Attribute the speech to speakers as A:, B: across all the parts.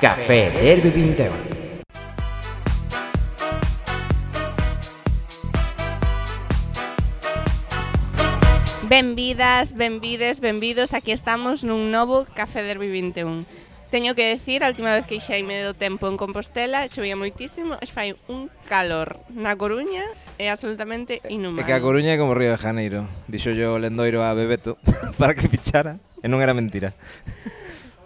A: Café Derby Vintema.
B: Benvidas, benvides, benvidos, aquí estamos nun novo Café Derby 21. Teño que decir, a última vez que xeime do tempo en Compostela, chovía moitísimo, e fai un calor na Coruña, é absolutamente
C: É
B: inhumano.
C: que a Coruña é como Río de Janeiro. Dixo yo Lendoiro a Bebeto para que fichara. E non era mentira.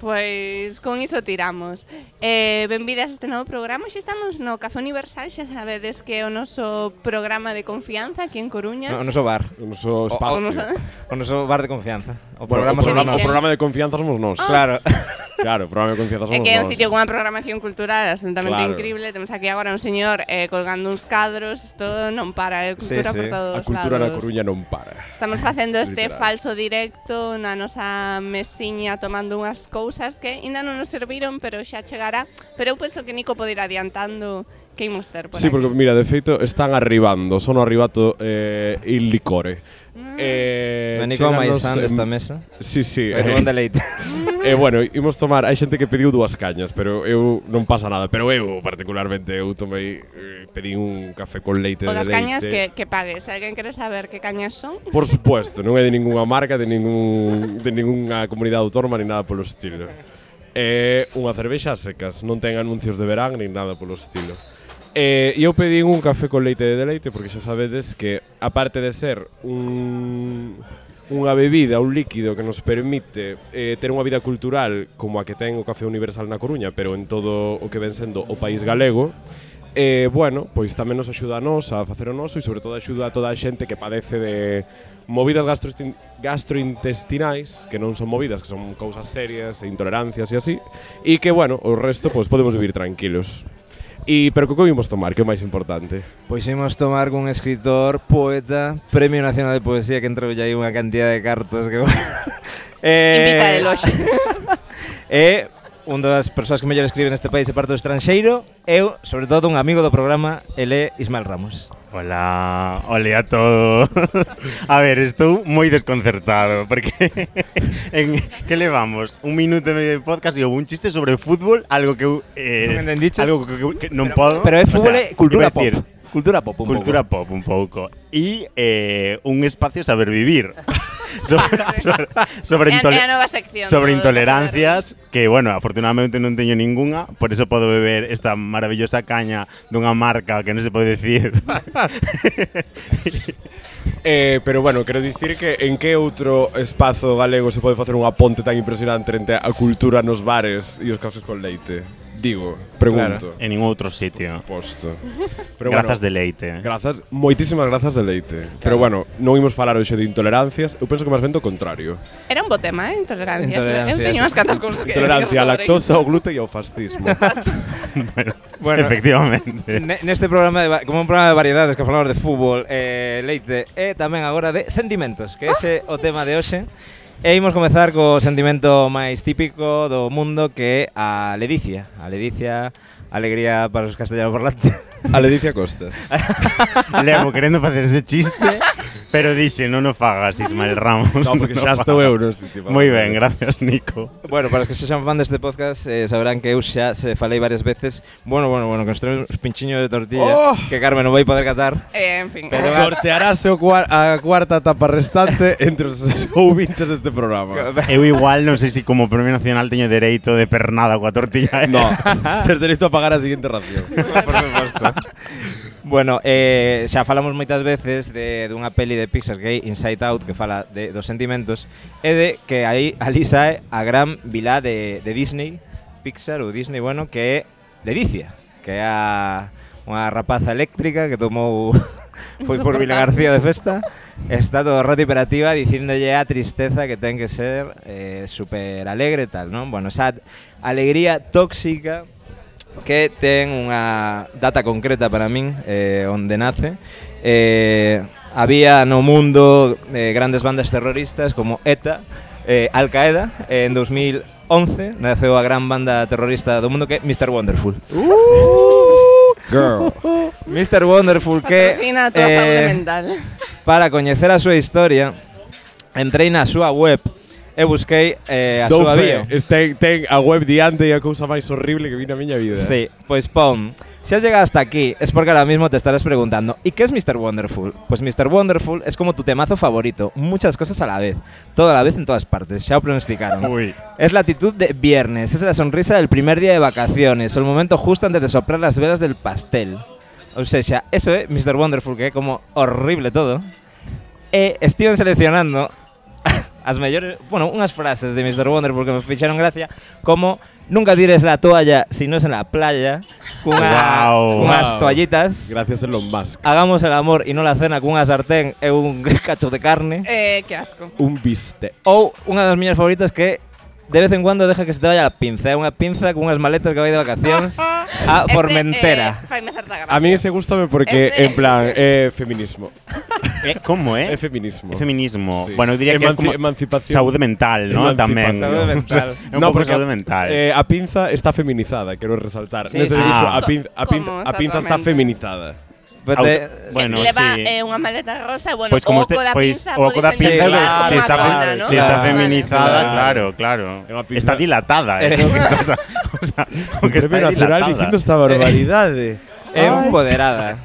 B: Pois con iso tiramos. Eh, benvidas a este novo programa. Xa estamos no Café Universal, xa sabedes que é o noso programa de confianza aquí en Coruña.
C: No, o noso bar.
D: O noso
B: O
D: espacio.
B: noso-
C: O noso bar de confianza. O
D: Bueno,
C: programa
D: o, programa, o
B: dixen?
D: programa de confianza somos nós.
C: Claro.
D: Claro, o programa de confianza somos
B: Ah. É que é un
D: nós.
B: sitio cunha programación cultural absolutamente
D: Claro.
B: increíble. Temos aquí agora un señor eh, colgando uns cadros, isto non para, é cultura
C: Sí, sí.
B: por todos
D: A cultura
B: lados.
D: na Coruña non para.
B: Estamos facendo este
D: Literal.
B: falso directo na nosa mesiña tomando unhas cousas que ainda non nos serviron, pero xa chegará. Pero eu penso que Nico pode ir adiantando que imos ter por
D: sí,
B: aquí.
D: porque mira, de feito están arribando, sono arribato eh, il licore.
B: Mm.
D: Eh,
C: Venico a
D: chéganos,
C: Maisán
D: eh,
C: desta mesa.
D: Sí, sí.
C: É un deleite.
D: E bueno, imos tomar, hai xente que pediu dúas cañas, pero eu non pasa nada, pero eu particularmente eu tomei eh, pedí un café con
B: O
D: leite de
B: das
D: leite.
B: cañas que, que pagues. Se alguén quere saber que cañas son,
D: Por supuesto, non é de ningunha marca, de ningún de ningunha comunidade autónoma ni nada polo estilo. É unha cervexa a secas, non ten anuncios de verán ni nada polo estilo. Eh, e eu pedín un café con leite de deleite porque xa sabedes que aparte de ser un unha bebida, un líquido que nos permite eh, ter unha vida cultural como a que ten o Café Universal na Coruña, pero en todo o que ven sendo o país galego, E, bueno, pois tamén nos axuda a nós a facer o noso e sobre todo axuda a toda a xente que padece de movidas gastroestin- gastrointestinais, que non son movidas, que son cousas serias e intolerancias e así, e que, bueno, o resto pois podemos vivir tranquilos. E pero que comimos tomar, que é o máis importante.
C: Pois imos tomar cun escritor, poeta, Premio Nacional de Poesía que entrou aí unha cantidad de cartas que... eh,
B: invita de loxe.
C: E un das persoas que mellor escribe neste país e parte do estranxeiro, eu, sobre todo, un amigo do programa, ele é Ismael Ramos.
E: Hola, hola a todos. A ver, estou moi desconcertado porque en que levamos un minuto e medio de podcast e houve un chiste sobre fútbol, algo que eu eh,
C: Non entendiches?
E: algo que, que, que non podo.
C: Pero é
E: o sea,
C: fútbol e cultura
E: iba a decir,
C: pop. Cultura pop un
E: cultura
C: pouco.
E: pop un pouco e eh, un espacio saber vivir. sobre sobre, sobre,
B: É a-
E: intole-
B: é a nova sección
E: sobre
B: do- do
E: intolerancias que, bueno, afortunadamente non teño ningunha, por eso podo beber esta maravillosa caña dunha marca que non se pode decir.
D: Eh, pero bueno, quero dicir que en que outro espazo galego se pode facer unha ponte tan impresionante entre a cultura nos bares e os cafés con leite? Digo, pregunto.
E: en ningún outro sitio.
D: Posto.
E: Pero Grazas de leite.
D: Grazas, moitísimas grazas de leite. Pero bueno, non imos falar hoxe de intolerancias, eu penso que máis ben do contrario.
B: Era un bo tema, eh? intolerancias.
C: Intolerancias.
B: Eu teño unhas cantas cousas que
D: Intolerancia á
B: decir sobre
D: lactosa, ao gluten e ao fascismo.
C: Bueno.
E: Efectivamente.
C: Ne- Neste programa, de, va- como un programa de variedades que falamos de fútbol, eh, leite e tamén agora de sentimentos, que ese é o tema de hoxe. E imos comezar co sentimento máis típico do mundo que é a ledicia. A ledicia, alegría para os castellanos parlantes.
D: A Ledicia Costas.
E: Levo querendo facer ese chiste, pero dixe, non o fagas, Ismael Ramos.
D: No, porque
E: non
D: xa
E: o
D: estou
E: fagas".
D: eu no sitio.
E: Moi ben, gracias, Nico.
C: Bueno, para os que sexan fan deste podcast eh, saberán que eu xa se falei varias veces Bueno, bueno, bueno, que nos traen uns pinchiños de tortilla
D: Oh!
C: Que Carmen non vai poder catar
B: Eh, en fin.
C: Pero-
D: Sortearase o cuar a cuarta etapa restante entre os ouvintes deste programa.
E: Eu igual non sei se como premio nacional teño dereito de pernada coa tortilla.
D: No, tes dereito a pagar a seguinte ración.
C: Por suposto Bueno, eh, xa falamos moitas veces de, dunha peli de Pixar que é Inside Out Que fala de, dos sentimentos E de que aí ali sae a gran vilá de, de Disney Pixar ou Disney, bueno, que é Ledicia Que é a, unha rapaza eléctrica que tomou foi por Vila García de festa Está todo o rato hiperativa dicíndolle a tristeza que ten que ser eh, super alegre e tal, non? Bueno, esa alegría tóxica que ten unha data concreta para min eh, onde nace eh, había no mundo eh, grandes bandas terroristas como ETA eh, Al Qaeda eh, en 2011 naceu a gran banda terrorista do mundo que é Mr. Wonderful
B: Uh.
D: Girl.
C: Mr. Wonderful que
B: Patrocina a tua saúde
C: eh,
B: mental.
C: para coñecer a súa historia entrei na súa web e busquei eh, a
D: Dou
C: súa
D: fe.
C: bio.
D: Ten, ten a web diante e a cousa máis horrible que vi na miña vida.
C: Sí, pois pon, se has llegado hasta aquí es porque ahora mismo te estarás preguntando ¿Y qué es Mr. Wonderful? Pues Mr. Wonderful es como tu temazo favorito, muchas cosas a la vez, toda la vez en todas partes, ya lo pronosticaron.
E: Uy.
C: Es la actitud de viernes, es la sonrisa del primer día de vacaciones, el momento justo antes de soplar las velas del pastel. O sea, eso é Mr. Wonderful, que é como horrible todo. E estiven seleccionando as mellores, bueno, unhas frases de Mr. Wonderful que me fixeron gracia, como nunca tires la toalla si no es en la playa, cunha,
E: Guau.
C: cunhas
D: Guau.
C: toallitas,
D: Gracias Elon Musk.
C: hagamos el amor y no la cena cunha sartén e un cacho de carne.
B: Eh, qué asco.
D: Un viste.
C: Ou unha das miñas favoritas que de vez en cuando deja que se te vaya a pinza. É unha pinza con unhas maletas que vai de vacacións a
B: Este,
C: Ah, Formentera.
B: eh, faime certa gracia.
D: A mí ese gústame
C: Este-
D: porque,
B: Ese-
D: en plan, é eh, feminismo.
E: Eh, como é?
D: É feminismo.
E: É feminismo.
D: Sí.
E: Bueno, eu diría que é
D: Emanci-
E: como
D: emancipación.
E: saúde mental, ¿no?
D: Emancipación.
E: Tamén.
C: Saúde mental.
E: É un pouco saúde mental.
D: Eh, a pinza está feminizada, quero resaltar.
C: Sí,
D: Sí,
C: sí.
D: Nese sí.
E: Ah.
D: a, pin, a, pinza,
B: Como
D: a pinza está
B: exactamente.
D: feminizada.
C: Pero
E: auto-
C: te-
E: bueno,
B: Leva
E: sí.
B: eh, unha maleta rosa, bueno, pois
E: Pois como
B: o
E: este,
B: co da
E: pois
B: pinza,
E: o co da
B: podes
E: pinza, eh,
B: enxergar
C: claro,
E: si
B: unha
E: está,
B: corona,
C: claro,
B: ¿no?
E: si está
B: Vale.
E: feminizada, claro,
D: Claro.
E: claro.
D: É unha pinza-
E: Está dilatada, é o que estás a, o sea, o que está dilatada.
D: esta barbaridade.
C: é empoderada.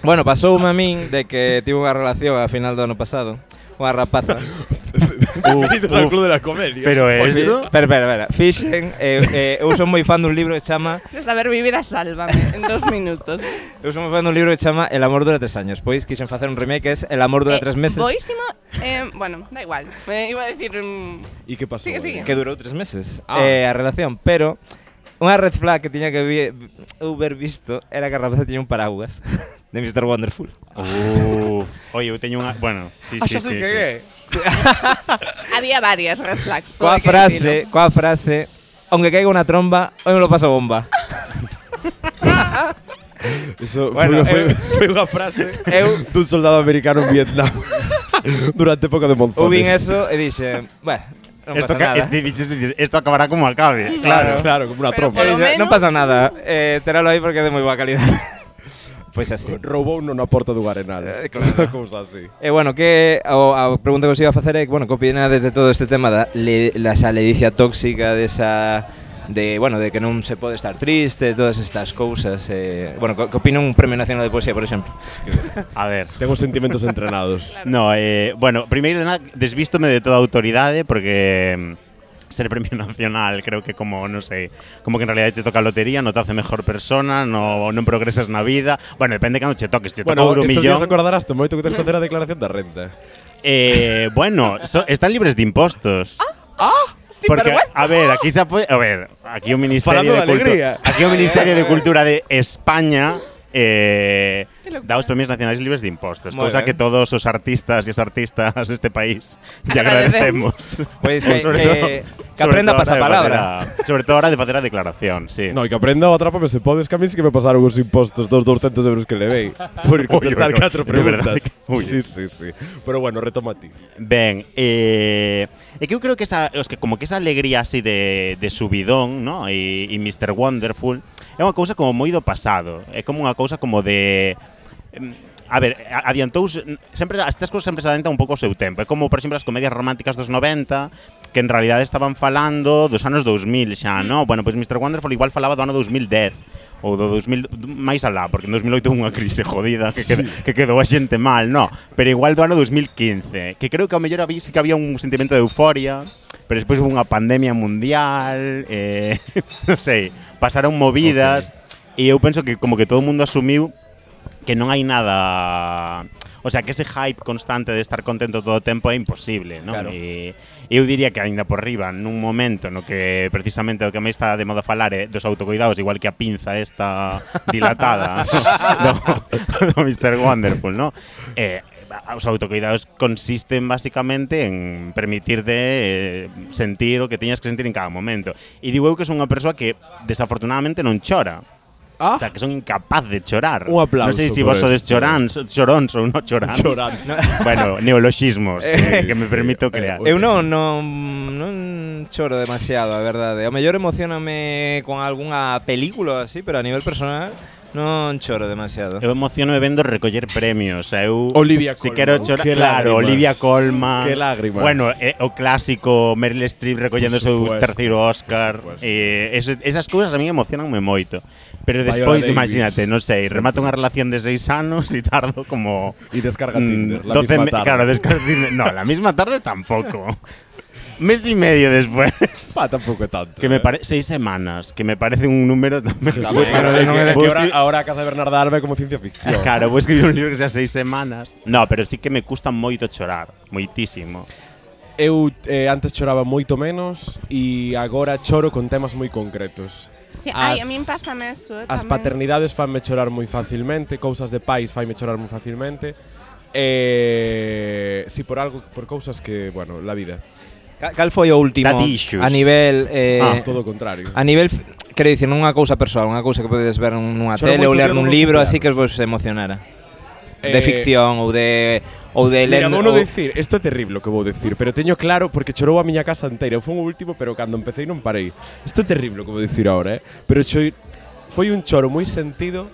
C: bueno, pasoume a min de que tive unha relación a final do ano pasado. Unha rapaza.
D: Bienvenidos al Club de la Comedia.
E: Pero esto,
C: Espera, espera, espera. Fixen, eh, eh, eu son moi fan dun libro que chama
B: No saber vivir Pues a sálvame en dos minutos.
C: Eu son moi fan dun libro que chama El amor dura tres años Pois quixen facer un remake que é El amor dura
B: Eh,
C: tres meses
B: Boísimo, eh, bueno, da igual. Eh, iba a decir un...
D: ¿Y qué pasó?
B: Sigue, sigue.
C: que durou tres meses
D: Ah.
C: eh, a relación, pero unha red flag que tiña que vi, eu ver visto era que a rapaza tiña un paraguas de Mr. Wonderful.
E: Uh, oye, eu teño unha, bueno,
C: Ah,
E: sí,
B: Ah,
E: sí, sí. sí.
B: Había varias red flags. todo
C: Coa
B: hai que
C: frase,
B: decirlo.
C: coa frase, aunque caiga una tromba, hoy me lo paso bomba.
B: Ah.
D: Eso
C: Bueno,
D: fue,
E: eh,
C: eu-
D: fue- fue una frase
C: eu-
D: de un soldado americano en Vietnam durante época de monzones.
C: Eu vin eso e dixen, bueno, non pasa
E: Esto, ca-
C: nada. ¿eh?
E: es difícil decir, esto acabará como acabe, claro.
D: Claro, claro, como una
B: Pero
C: E
D: trompa.
B: Por lo
C: dixen, non
B: menos-
C: pasa nada, eh, teralo aí porque é de moi boa calidad. Pois así.
D: Robó uno una porta do arenal.
C: Eh, claro.
D: Cousa así.
C: E Eh, bueno, que o, a pregunta que os iba a facer é, bueno, que opinades de todo este tema da le, la esa ledicia tóxica desa de, bueno, de que non se pode estar triste, todas estas cousas, eh, bueno, que, que opina un Premio Nacional de Poesía, por exemplo.
E: A ver.
D: Tengo sentimientos entrenados.
E: No, eh, bueno, primeiro de nada, desvístome de toda autoridade porque mm, ser premio nacional creo que como, non sei, como que en realidad te toca a lotería, non te hace mejor persona, no, non progresas na vida. Bueno, depende cando che toques, te toca
D: Bueno,
E: euro
D: estos días
E: millón.
D: acordarás te momento que tens que facer a declaración da renta.
E: Eh, bueno, so- están libres de impostos.
B: Sí, pero
E: Porque,
B: bueno.
E: a ver, aquí se apoya. A ver, aquí un Ministerio
D: Falando de
E: de Cultura.
D: alegría.
E: Aquí un Ministerio de Cultura de España. Eh,
B: Qué locura.
E: da os premios nacionais libres de impostos,
C: Moi
E: cosa
C: ben.
E: que todos os artistas e as artistas deste país lle
B: Agradecemos. Eh,
E: agradecemos.
C: Pois que-
E: Sobre
C: que-
E: todo-
C: que
E: sobre
C: aprenda
E: todo
C: a pasar
E: hora de
C: palabra.
E: facer a- sobre todo ahora de facer a declaración, sí.
D: No, e que aprenda o atrápame se podes, que a mí sí que me pasaron os impostos dos 200 euros que levei por ir contestar
E: Ui, ui, ui,
D: catro
E: de
D: preguntas.
E: verdade que- ui.
D: sí, sí, sí. Pero bueno, retoma ti.
E: Ben, eh, é que eu creo que esa, os que como que esa alegría así de, de subidón, ¿no? E, e Mr. Wonderful é unha cousa como moi do pasado, é como unha cousa como de em, A ver, a- adiantouse, sempre estas cousas sempre se adentan un pouco ao seu tempo. É como, por exemplo, as comedias románticas dos 90, que en realidad estaban falando dos anos 2000 xa, no? Bueno, pois Mr. Wonderful igual falaba do ano 2010 ou do 2000 máis alá, porque en 2008 houve unha crise jodida que, qued, que quedou a xente mal, no, pero igual do ano 2015, que creo que ao mellor había, sí que había un sentimento de euforia, pero despois houve unha pandemia mundial, eh, non sei, pasaron movidas, okay. e eu penso que como que todo o mundo asumiu que non hai nada... O sea, que ese hype constante de estar contento todo o tempo é imposible, non?
C: Claro.
E: E eu diría que aínda por riba, nun momento no que precisamente o que me está de moda falar é dos autocuidados, igual que a pinza esta dilatada do, do Mr. Wonderful, non? Eh, os autocuidados consisten basicamente en permitirte eh, sentir o que teñas que sentir en cada momento. E digo eu que son unha persoa que desafortunadamente non chora. O sea, que son incapaz de chorar.
D: Un aplauso
E: No sé si
D: por
E: vos sois
D: esto.
E: chorans, chorons o no chorans.
D: Chorans.
E: bueno, neologismos que,
D: Sí,
E: que me
D: sí.
E: permito
D: Eh,
E: crear.
D: Porque-
C: Eu non, non, non choro demasiado, a verdade. O mellor emocioname con algunha película ou así, pero a nivel personal non choro demasiado.
E: Eu emociono vendo recoller premios. eh, Eu
D: Olivia
E: Uh, Si
D: Colman.
E: quero chorar,
D: Que lágrimas.
E: claro, Olivia Colman.
D: Que lágrimas.
E: Bueno, eh, o clásico Meryl Streep
D: Por
E: recollendo seu
D: supuesto,
E: terceiro Oscar.
D: por supuesto.
E: Eh, ese- esas cousas a mí emocionanme moito. Pero
D: Viola
E: despois,
D: Davis.
E: imagínate, non sei,
D: Sempre.
E: remato unha relación de seis anos e tardo como
D: Y descarga
E: Mm,
D: Tinder. La
E: 12
D: misma
E: me-
D: tarde.
E: Claro, descarga Tinder. No, la misma tarde tampoco. Mes y medio después.
D: Pa, tampoco tanto.
E: Que
D: eh.
E: me parece. Seis semanas, que me parece un número también.
D: También,
E: Voy a
D: pero
E: escribir-
D: no me- Pues que
E: voy a
D: ahora,
E: escribir-
D: ahora Casa de Bernarda Alba como ciencia ficción.
E: Claro, voy a escribir un libro que sea seis semanas. No, pero sí que me custa moito chorar. Moitísimo.
D: Eu eh, antes choraba moito menos e agora choro con temas moi concretos.
B: Sí, ai, a
D: As-
B: min pásame eso eh, tamén.
D: As paternidades fanme chorar moi facilmente, cousas de pais fanme chorar moi facilmente. Eh, si por algo, por cousas que, bueno, la vida.
C: Ca- Cal foi o último
E: Daddy issues.
C: a nivel eh,
E: Ah,
D: Todo o contrario.
C: A nivel, f- quero dicir, non unha cousa persoal, unha cousa que podedes ver nunha
D: Solo
C: tele ou
D: moito
C: ler
D: tempo
C: nun
D: non
C: libro, así que
D: copiados.
C: vos emocionara.
D: Eh,
C: de ficción ou de ou de
D: Mira,
C: lendo.
D: vou
C: ou-
D: non dicir, isto é terrible o que vou dicir, pero teño claro porque chorou a miña casa inteira. Eu fui o último, pero cando empecé non parei. Isto é terrible o que vou dicir agora, eh? Pero choi, foi un choro moi sentido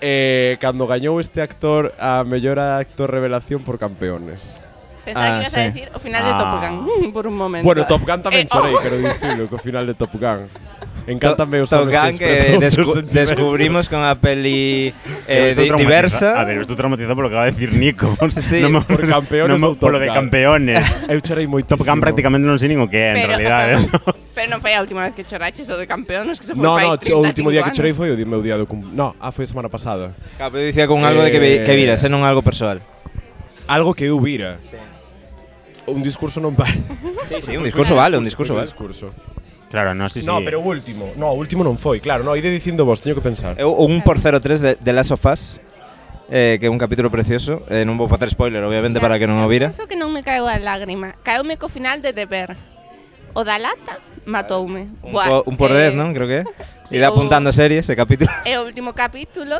D: eh, cando gañou este actor a mellor actor revelación por campeones.
B: Pensaba
C: Ah,
B: que ibas
C: sí.
B: a decir o final de
E: Ah.
B: Top Gun mm, por un momento.
D: Bueno, Top Gun tamén
B: Eh,
D: chorei,
B: ojo.
D: quero dicirlo, co final de Top Gun. Encántame os
C: Top
D: homes
C: Gun
D: que expresan
C: descu-
D: os seus sentimentos.
C: descubrimos con a peli eh,
E: Estoy
C: di-
E: traumatizado.
C: diversa.
E: A ver, estoy traumatizado por lo que acaba de decir Nico.
C: Sí,
D: por campeones
E: no me-
D: ou
E: por lo
D: Top
E: de
D: Gun.
E: campeones.
D: Eu chorei moitísimo.
E: Top Gun prácticamente non sei nin o que é, en
B: Pero-
E: realidad. eh.
B: Pero non foi a última vez que choraches o de campeones que se foi
D: No,
B: fai
D: no,
B: 35
D: o último día que
B: anos.
D: chorei foi o di- meu día do cum... No, ah, foi a semana pasada.
C: Claro, pero dicía con algo de que, vi- que viras, eh, non algo persoal.
D: Algo que eu vira. Un discurso non vale.
C: Sí, sí, un discurso vale, un discurso vale.
D: discurso.
E: Claro, no, sí, sí.
D: No, pero o último. No, o último non foi, claro. No, ide dicindo vos, teño que
E: Eh,
D: pensar.
C: Eu un por 03 de, de Last of Us. Eh, que é un capítulo precioso eh, Non vou facer spoiler,
B: O
C: obviamente,
B: sea,
C: para que non o
B: eu
C: vira
B: penso que non me caeu a lágrima. Caeume co final de Deber. O da lata matoume.
C: Un,
B: Buah,
C: po- un por
B: eh,
C: 10, non? Creo que é
B: sí,
C: Irá
B: o-
C: apuntando series e capítulos
B: É o último capítulo.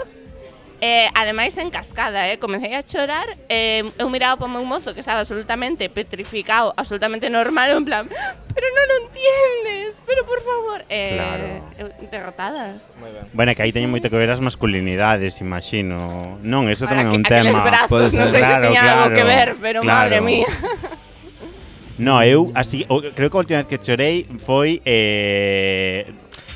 B: Eh, ademais en cascada, eh, comecei a chorar, eh, eu miraba para o meu mozo que estaba absolutamente petrificado, absolutamente normal, en plan, pero non o entiendes, pero por favor, eh,
E: Claro.
B: eu, derrotadas.
E: Bueno, que aí teñen moito que ver as masculinidades, imagino. Non, eso
B: Ahora,
E: tamén é un
B: que- aqueles
E: tema.
C: Pode
B: brazos, non
C: ser.
B: sei
E: Claro,
B: se tiña
E: claro,
B: algo que ver, pero
E: claro.
B: madre mía.
E: No, eu así, o, creo que a última vez que chorei foi eh,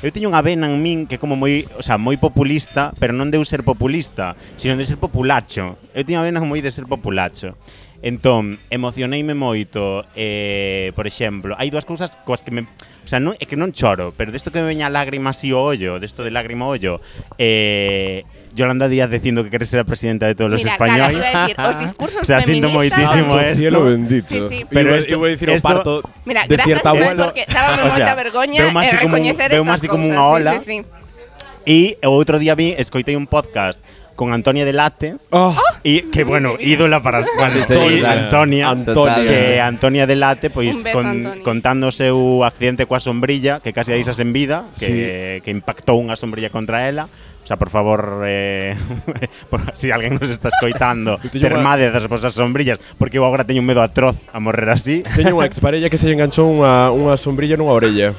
E: Eu teño unha vena en min que é como moi, o sea, moi populista, pero non de eu ser populista, sino de ser populacho. Eu teño unha vena moi de ser populacho. Entón, emocioneime moito, eh, por exemplo, hai dúas cousas coas que me, o sea, non, é que non choro, pero desto que me veña a lágrima así o ollo, desto de lágrima o ollo, eh, Yolanda Díaz dicindo que quere ser a presidenta de todos os
B: Mira, cara,
E: españois.
B: iba a decir, os discursos
E: O sea, siento
B: feministas-
E: moitísimo
D: Santo
E: esto.
D: cielo bendito.
B: Sí, sí.
E: Pero
D: Pero
E: esto-
D: eu vou dicir o
E: esto-
D: parto
B: Mira,
D: de
B: gracias
D: cierta
B: a Dios,
D: abuela.
B: porque dábame
E: O sea,
B: moita vergoña
E: veo máis
B: e
E: como un-
B: recoñecer
E: veo
B: estas
E: máis como unha
B: cousas, sí,
E: ola.
B: sí, sí.
E: E o outro día vi, escoitei un podcast con Antonia Delate
D: Oh,
E: e que bueno, ídola para para
C: Sí, sí, sí.
E: estoy, Antonia,
D: Antonia.
E: que Antonia Delate pois
B: Un beso,
E: con,
B: Antonia.
E: contando o seu accidente coa sombrilla, que casi a disas en vida, que, que impactou unha sombrilla contra ela. O sea, por favor, eh, por, si alguén nos está escoitando,
D: Eu teño
E: termade das vosas sombrillas, porque eu agora teño un medo atroz a morrer así.
D: teño unha exparella que se lle enganchou unha, unha sombrilla nunha orella.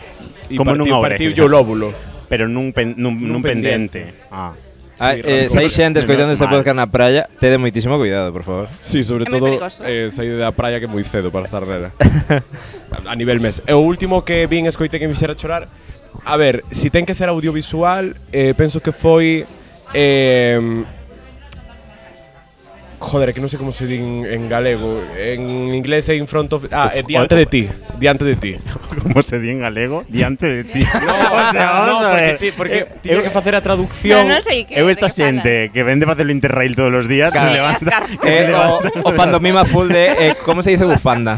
D: E
E: Como
D: partiu,
E: nunha orella.
D: Partiu o lóbulo.
E: pero nun, pen, nun, nun,
D: Nun
E: pendente.
D: pendiente.
E: Ah.
C: Ah, eh, se hai xente escoitando este
E: Menos mal.
C: podcast na praia, tede moitísimo cuidado, por favor.
D: Sí, sobre
B: É moi
D: todo
B: perigoso.
D: eh, saí da praia que é moi cedo para estar nela. a a nivel mes. E o último que vin escoite que me fixera chorar, a ver, si ten que ser audiovisual, eh, penso que foi eh, Joder, que non sei como se di en, en galego. En inglés é in front of... Ah,
E: Uf,
D: eh, diante de ti. Diante de ti.
E: Como se di en galego, diante de ti.
D: No,
E: vamos
D: no,
E: a
D: porque,
E: ver. Eh,
D: ti, porque
E: Eu-
D: tiño que
E: eu-
D: facer a
B: No,
D: traducción.
B: non sei que
E: Eu
B: de
E: esta
B: que
E: xente que vende facelo Interrail todos os días,
B: falas.
E: se
B: Sí,
E: levanta.
B: as carpas.
C: Eh, o, o pantomima full de, eh, como se dice bufanda?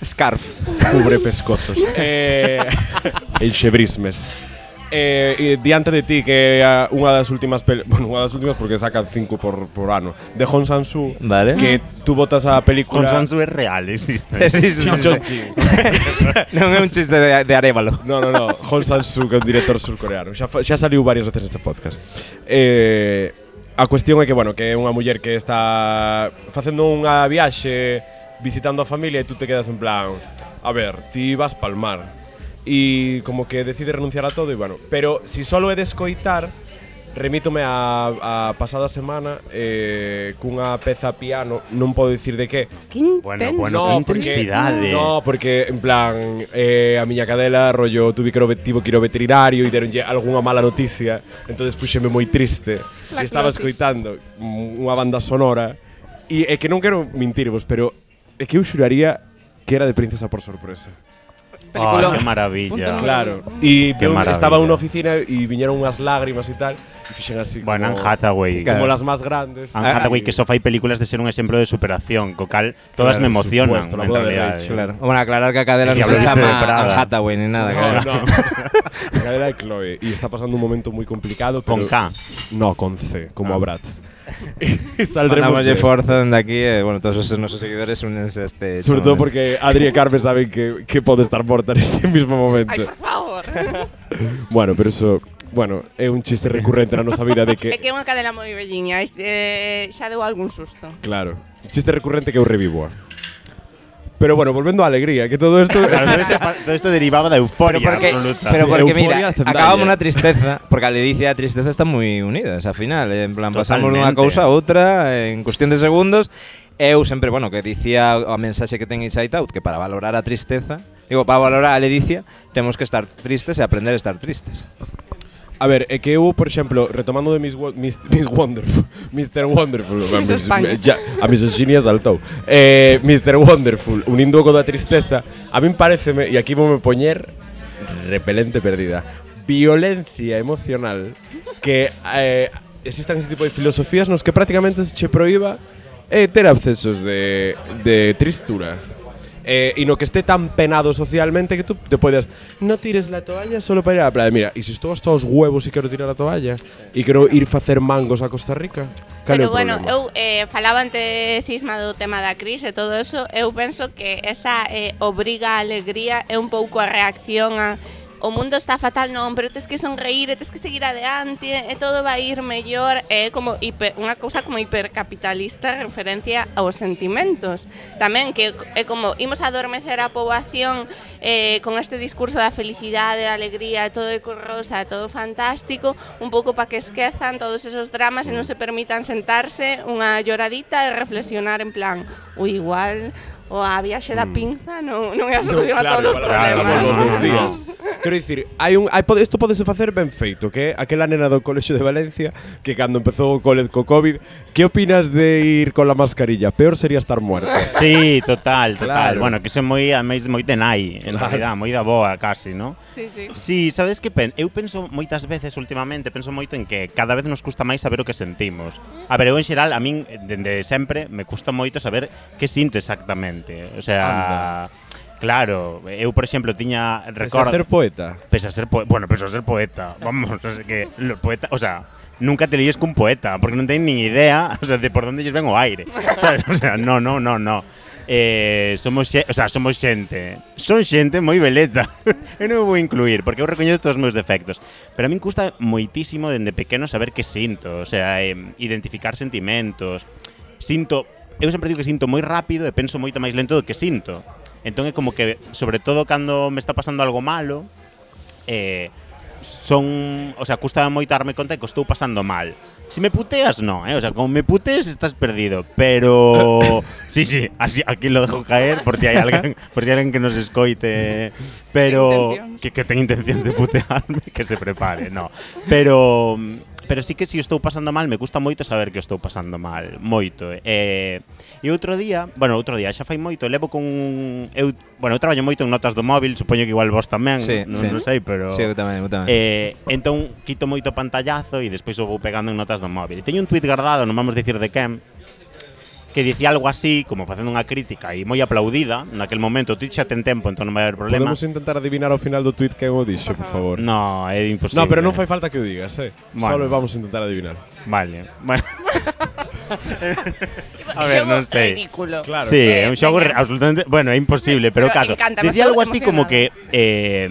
C: Scarf.
D: Cubre pescozos. eh, Enxebrismes. Eh, e diante de ti que é a- unha das últimas pel bueno, unha das últimas porque sacan cinco por, por ano de Hong Sansu
C: Vale.
D: que tú votas a película
E: Con Sansu é real, existe.
D: Chinchon Chin.
C: non é un chiste de, de Arevalo.
D: No, no, no. Hong Sang-soo, que é un director surcoreano. Xa, fa- xa saliu varias veces neste podcast. Eh, a cuestión é que, bueno, que é unha muller que está facendo unha viaxe visitando a familia e tú te quedas en plan, a ver, ti vas pa'l mar. E como que decide renunciar a todo e, bueno, pero si solo é de escoitar, remítome a, a pasada semana eh, cunha peza piano, non podo dicir de que,
B: Que intenso.
E: Bueno, bueno, que intensidade.
D: No, porque en plan eh, a miña cadela rollo tuve que ir ao vet- tivo que ir ao veterinario e deronlle algunha mala noticia, entonces puxeme moi triste.
B: La
D: e estaba
B: crucis.
D: escoitando mm, unha banda sonora e é que non quero mentirvos, pero é que eu xuraría que era de Princesa por sorpresa.
B: Peliculón.
E: Oh, qué
B: Punto
E: maravilla.
B: número
D: Claro, e
E: Qué
D: eu
E: maravilla.
D: estaba en unha oficina e viñeron unhas lágrimas e tal, e fixen así
E: Bueno, Anne
D: como,
E: Hathaway.
D: como
C: Claro.
D: las más grandes.
E: Anne Hathaway, que só fai películas de ser un exemplo de superación, co cal todas
D: Claro,
E: me
D: por
E: emocionan,
D: supuesto, la
E: en
D: boda de
E: realidad. eh,
D: Rachel.
C: Claro. Bueno, aclarar que a cadela no
E: Y
B: hablaste
C: se
E: de
C: llama
E: Prada.
C: Anne Hathaway ni nada.
D: No,
C: claro.
D: no. La cadera de Chloe. Y está pasando un momento muy complicado.
E: Con
D: pero-
E: K.
D: No, con C, como
E: Ah.
D: a Bratz. y saldremos de
C: Mandamos
D: esto.
C: fuerza desde aquí. eh, bueno, todos esos- nuestros seguidores únense a este.
D: Sobre todo
C: chamamé.
D: porque Adri y Carmen saben que, que puedo estar muerta en este mismo
B: Ay,
D: momento.
B: por favor.
D: Bueno, pero eso. Bueno, es un chiste recurrente en nuestra vida de
B: é que
D: que.
B: é unha cadela moi velliña, es- eh, xa deu algún susto.
D: Claro. Chiste recurrente que eu revivo. Pero bueno, volviendo a alegría, que todo esto.
E: Claro, todo, esto, todo esto derivaba de euforia
C: Pero porque,
E: absoluta.
C: pero
D: Sí,
C: porque
D: euforia,
C: mira,
D: Zendaya.
C: acabamos una tristeza, porque a Ledicia e a tristeza están moi unidas, ao final, eh, en plan, pasamos dunha
E: Totalmente.
C: cousa a outra en cuestión de segundos. Eu sempre, bueno, que dicía a mensaxe que ten Inside Out, que para valorar a tristeza, digo, para valorar a Ledicia, temos que estar tristes e aprender a estar tristes.
D: A ver, é que eu, por exemplo, retomando de Miss, Wo- Miss, Miss Wonderful, Mr. Wonderful,
B: Miss España.
D: ya, a misoxinia saltou. Eh, Mr. Wonderful, unindo co da tristeza, a min pareceme, e aquí vou me poñer repelente perdida, violencia emocional que eh, existan ese tipo de filosofías nos que prácticamente se che proíba eh, ter abscesos de, de tristura. Eh, y no que esté tan penado socialmente que tú te puedas. No tires la toalla solo para ir a la playa. Mira, y si estou hasta os huevos y quiero tirar la toalla y quiero ir a hacer mangos a Costa Rica. Cal é
B: Pero
D: o
B: bueno, eu
D: problema?
B: eh, falaba antes Sisma do tema da crise e todo eso, eu penso que esa eh, obriga a alegría é un pouco a reacción a o mundo está fatal, non, pero tes que sonreír, e tes que seguir adelante, e todo vai ir mellor, é como hiper, unha cousa como hipercapitalista en referencia aos sentimentos. Tamén que é como imos adormecer a poboación eh, con este discurso da felicidade, da alegría, todo é cor rosa, todo fantástico, un pouco para que esquezan todos esos dramas e non se permitan sentarse unha lloradita e reflexionar en plan, o igual o a viaxe da pinza non, non é a solución a todos os
E: claro,
B: problemas.
E: volvemos dos días.
D: Quero dicir, hai un hai pode, isto podese facer ben feito, que é aquela nena do colexio de Valencia que cando empezou o cole co Covid, que opinas de ir con la mascarilla? Peor sería estar muerta.
E: Sí, total, total.
D: Claro.
E: Bueno, que eso é moi, ademais, moi de nai, en realidad, moi da boa casi, ¿no?
B: Sí, sí.
E: Sí, sabes que pen? eu penso moitas veces últimamente, penso moito en que cada vez nos custa máis saber o que sentimos. A ver, eu en xeral, a min, eh, dende sempre, me custa moito saber que sinto exactamente. O sea, claro, eu, por exemplo, tiña...
D: Pese a
E: Recordo,
D: ser poeta.
E: Pese a ser poeta. Bueno, pese a ser poeta. Vamos, no sé qué. Los poetas, o sea, nunca te líes con un poeta, porque no tienen ni idea o sea, de por dónde ellos vengo aire. ¿sabes? O sea, no, no, no, no. Eh, somos, xe- o sea, somos xente Son xente moi veleta Eu non me vou incluir, porque eu recoñezo todos os meus defectos Pero a min custa moitísimo dende pequeno saber que sinto O sea, em, identificar sentimentos Sinto, eu sempre digo que sinto moi rápido e penso moito máis lento do que sinto Entón é como que, sobre todo cando me está pasando algo malo eh, son, o sea, custa moito darme conta de que o estou pasando mal. Si me puteas, no, eh? O sea, como me putees estás perdido, pero sí, sí, así aquí lo dejo caer por si hay alguien, por si hay alguien que nos escoite, pero
B: intencións.
E: que, que ten intención de putearme, que se prepare, no. Pero pero sí que si o estou pasando mal, me gusta moito saber que o estou pasando mal, moito. Eh, e outro día, bueno, outro día, xa fai moito, levo con un eu, bueno, eu traballo moito en notas do móvil, supoño que igual vos tamén,
C: Sí,
E: non,
C: sí.
E: non sei, pero
C: Sí, eu tamén, eu tamén.
E: Eh, entón quito moito pantallazo e despois o vou pegando en notas do móvil. E teño un tuit guardado, non vamos dicir de quen, que dicía algo así, como facendo unha crítica e moi aplaudida, naquel momento o tuit xa ten tempo, entón non vai haber problema.
D: Podemos intentar adivinar ao final do tweet que eu dixo, por favor.
E: No, é imposible.
D: No, pero non fai falta que o digas, eh.
E: Bueno.
D: Solo vamos a intentar adivinar.
E: Vale. Bueno, a ver,
B: Xogo
E: non sei.
B: Ridículo.
D: Claro.
E: sí,
B: Eh,
E: é un xogo
B: venga.
E: re- absolutamente, bueno, é imposible, pero,
B: Pero
E: caso.
B: encántame,
E: Dicía
B: estou
E: algo así como que eh,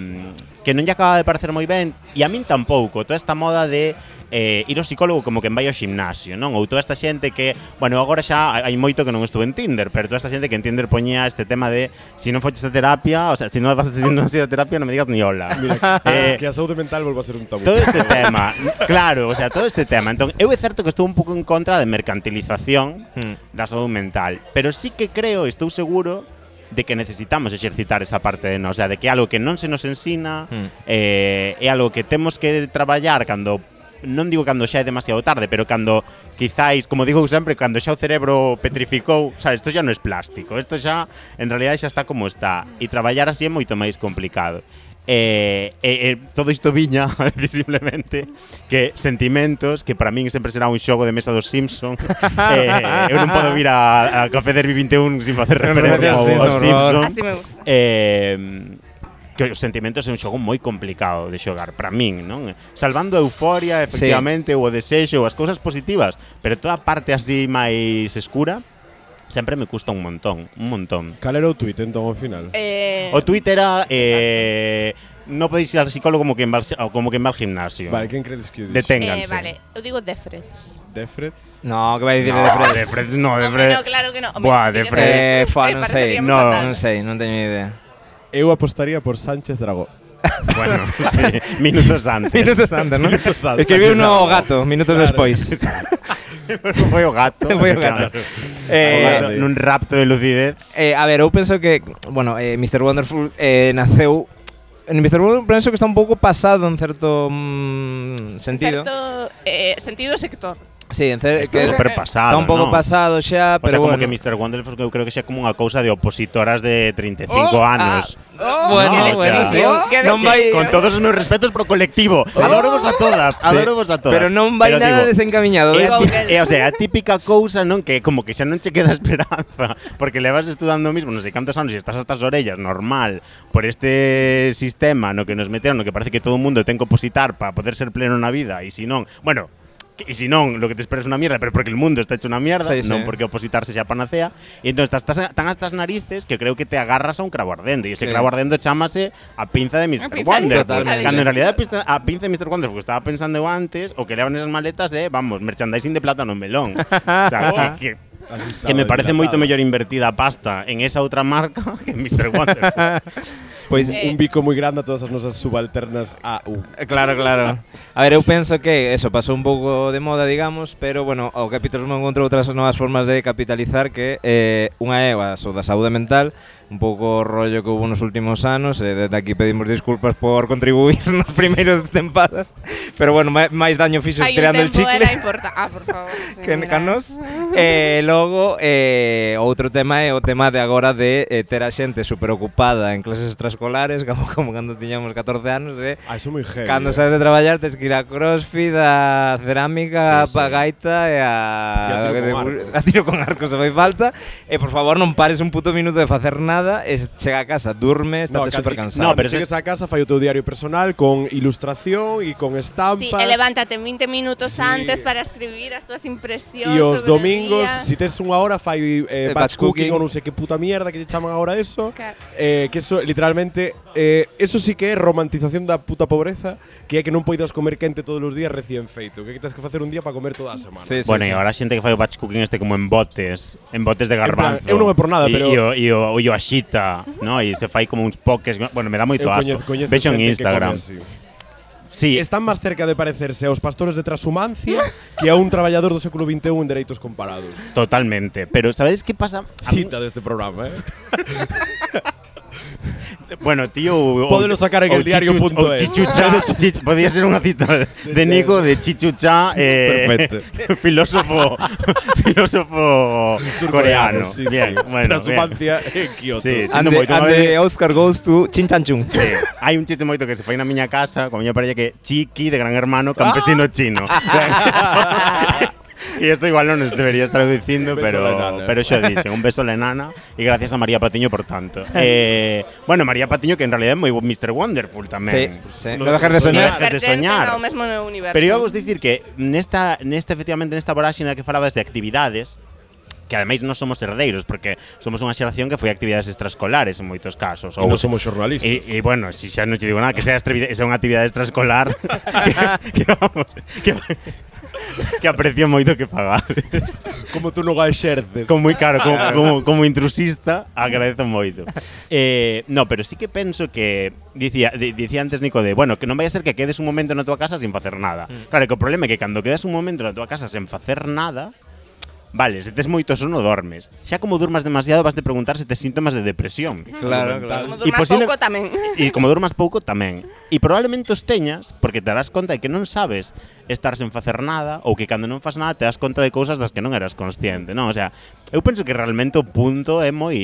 E: que non lle acaba de parecer moi ben e a min tampouco toda esta moda de eh, ir ao psicólogo como que vai ao ximnasio, non? Ou toda esta xente que, bueno, agora xa hai hai moito que non estuve en Tinder, pero toda esta xente que en Tinder poñía este tema de se si non foches a terapia, o sea, se si non vas a non a terapia, non me digas ni hola.
D: Mira,
E: Eh,
D: que a saúde mental volva a ser un tabú.
E: Todo este tema, claro, o sea, todo este tema. Entón, eu é certo que estou un pouco en contra de mercantilización
C: Hmm.
E: da saúde mental, pero sí que creo, e estou seguro de que necesitamos exercitar esa parte de nos, o sea, de que é algo que non se nos ensina,
C: Hmm.
E: eh, é algo que temos que traballar cando non digo cando xa é demasiado tarde, pero cando quizáis, como digo sempre, cando xa o cerebro petrificou, xa isto xa non é plástico, isto xa en realidad xa está como está e traballar así é moito máis complicado. Eh, eh, eh, todo isto viña a decir simplemente que sentimentos que para min sempre será un xogo de mesa dos Simpson eh, eu non podo vir a, a Café Derby 21 sin facer
C: Non me
E: referencia aos
C: digas
E: Simpson,
C: Simpson, por favor.
B: Así me gusta.
E: eh, que os sentimentos é un xogo moi complicado de xogar para min, non? Salvando a euforia, efectivamente, ou o desexo, ou as cousas positivas, pero toda a parte así máis escura sempre me custa un montón, un montón.
D: Cal era o tuit, entón, ao final?
B: Eh,
E: O tuit era eh, no podéis ir al psicólogo como que va al, como que va al gimnasio.
D: Vale, quen credes que o dixo?
E: Detén.
B: eh,
E: vénganse.
B: vale, eu digo Defrets.
D: Defrets?
C: No, que vai dicir de Fred?
E: No, de Freds no, de
B: Hombre,
E: Freds.
B: no, claro que no. Hombre,
E: Buah,
B: sí
E: de
B: que
E: Fred.
B: sabes.
C: Eh, fa,
B: Eh,
C: non
B: parece
C: sei.
B: que
E: No,
B: fatal.
C: Non sei, non teño ni idea.
D: Eu apostaría por Sánchez Dragó.
E: Bueno, sí, minutos antes.
C: Minutos antes, ¿no?
E: Minutos antes. Ah,
C: Es que vi uno o gato, minutos despois.
E: Foi o gato.
C: Foi o gato.
E: claro.
C: Eh,
E: O gato, nun rapto de lucidez.
C: Eh, a ver, eu penso que, bueno, eh, Mr. Wonderful eh, naceu En Mr. Wonderful penso que está un pouco pasado en certo mm, sentido.
B: Certo, eh, sentido sector.
C: Sí, en cer
E: Está
C: que
E: super pasado,
C: está un pouco
E: ¿no?
C: pasado xa,
E: O sea,
C: pero bueno.
E: como que Mr. Wonderful eu creo que sea como unha cousa de opositoras de 35
B: Oh,
E: anos.
B: ah,
C: bueno,
E: No, o
C: bueno,
E: sea,
C: sí.
B: que-
C: non
B: que-
C: vai
E: Con todos os meus respetos pro colectivo.
B: oh.
E: Adorovos a todas, adorovos a todas.
C: Pero non vai
E: Pero
C: nada
E: digo,
C: desencaminhado. eh.
E: É, a
B: Google.
E: tí- é, o sea, a típica cousa, non, que como que xa non che queda esperanza, porque levas estudando o mismo, non sei cantos anos, e estás hasta as orellas, normal, por este sistema no que nos meteron, no que parece que todo o mundo ten que opositar para poder ser pleno na vida, e si non, bueno, que- E si non, lo que te espera es una mierda, pero porque el mundo está hecho una mierda,
C: Sí, sí.
E: non porque opositarse sea panacea. E entón estás tas- tan hasta as narices que creo que te agarras a un cravo ardendo. E ese
C: Sí.
E: cravo ardendo chamase a pinza de
B: A
E: Mr.
B: pinza de
E: Wonderful.
C: Mr. Wonderful.
E: Cando en realidad a pinza, a pinza de Mr. Wonderful que estaba pensando eu antes, o que levan esas maletas, eh, vamos, merchandising de plátano en melón. o sea, que, que, que me parece moito mellor invertida a pasta en esa outra marca que en Mr. Wonderful.
C: Pois
B: Eh,
D: Pues Un bico moi grande a todas as nosas subalternas a U.
C: Claro, claro. A ver, eu penso que eso pasou un pouco de moda, digamos, pero bueno, o capitalismo encontrou outras novas formas de capitalizar que eh, unha é a so da saúde mental, un pouco o rollo que houve nos últimos anos, e desde aquí pedimos disculpas por contribuir nos primeiros tempadas, pero bueno, ma- máis daño fixo
B: Hai un
C: estirando el
B: tempo
C: chicle.
B: era importante. Ah, por favor. sí,
C: que
B: mira.
C: canos. E logo eh, outro tema é o tema de agora de eh, ter a xente superocupada en clases extraescolares, como, como cando tiñamos 14 anos de
D: Ah, iso é moi heavy.
C: Cando
D: eh.
C: sabes de traballar, tes que ir a crossfit, a cerámica,
D: Sí, sí.
C: a gaita e a...
D: E a tiro
C: de-
D: con arco.
C: a tiro con arco se fai falta. E por favor non pares un puto minuto de facer nada e chega a casa, durme, estate
D: cando-
C: super cansado.
E: no,
D: cando
E: pero
D: chegues
E: eso
D: a casa fai o teu diario personal con ilustración e con estampas.
B: Sí, e levántate 20 minutos
D: Sí.
B: antes para escribir as túas impresións
D: E
B: sobre
D: os
B: o
D: domingos,
B: día.
D: si tes unha hora, fai eh,
C: Eh, batch
D: batch cooking,
C: cooking.
D: ou non sei que puta mierda que lle chaman ahora eso.
B: Ca-
D: Eh, que eso, literalmente, eh, eso sí que é romantización da puta pobreza, que é que non poidas comer quente todos os días recién feito, que tens que facer un día para comer toda a semana.
C: Sí, sí,
E: bueno,
C: sí.
E: e agora a xente que fai o batch cooking este como en botes, en botes de
D: plan,
E: garbanzo.
D: eu non é por nada,
E: e,
D: pero-
E: E o, e o, e o axita, no? e se fai como uns poques, bueno, me dá moito
D: Eu
E: asco.
D: coñez- coñezo
E: Vexo en
D: xente que
E: Instagram.
D: come así.
E: Sí,
D: Están máis cerca de parecerse aos pastores de Trashumancia que a un traballador do século XXI en dereitos comparados.
E: totalmente. Pero ¿sabéis qué pasa? A mí-
D: Cita deste programa, eh?
E: Bueno, tío. o-
D: Pódelo sacar en
E: o
D: el diario
E: chichu-
D: punto
E: o
D: es.
E: Chichucha. de chichi- podía ser una cita de Nico de Chichucha. eh,
D: Perfecto.
E: filósofo filósofo coreano.
D: Sí, sí.
E: Bien, bueno. bien.
D: Trashumancia en Kioto.
E: Sí, sí.
C: Ande,
E: moito, unha
C: ande
E: vez-
C: Oscar goes to Chin Chan Chun.
E: Sí. Hai un chiste moito que se fai na miña casa con a miña parella que é Chiqui de Gran
D: Ah.
E: Hermano campesino chino. E isto igual non os deberías traducindo,
D: Un beso a la
E: pero
D: nana.
E: pero xa dixen, un beso a la nana e gracias a María Patiño por tanto. Eh, bueno, María Patiño que en realidad é moi bo Mr. Wonderful tamén.
C: Sí, sí.
D: no
C: No dejar de
B: E
D: dejes de
C: soñar.
E: soñar. dejas de
B: pertencen
E: soñar.
B: ao mesmo universo.
E: Pero íbamos dicir que nesta, nesta efectivamente nesta voráxina que falabas de actividades que ademais non somos herdeiros porque somos unha xeración que foi a actividades extraescolares en moitos casos.
D: Ou non somos xornalistas.
E: E, e bueno, si xa non te digo nada, que sea, extravi- sea unha actividade extraescolar que, que vamos, que, que aprecio moito que pagades.
D: Como tú non a exerces.
E: Como, claro, como, como, como intrusista, agradezo moito. Eh, no, pero sí que penso que dicía, di- dicía antes Nico de, bueno, que non vai a ser que quedes un momento na tua casa sin facer nada. Claro, que o problema é que cando quedas un momento na tua casa sen facer nada, Vale, se tes moito sono dormes. Xa como durmas demasiado vas de preguntar se tes síntomas de depresión.
C: Claro, claro.
B: Como durmas
E: posible-
B: pouco tamén.
E: E como durmas pouco tamén. E probablemente os teñas porque te darás conta de que non sabes estar sen facer nada ou que cando non fas nada te das conta de cousas das que non eras consciente, non? O sea, eu penso que realmente o punto é moi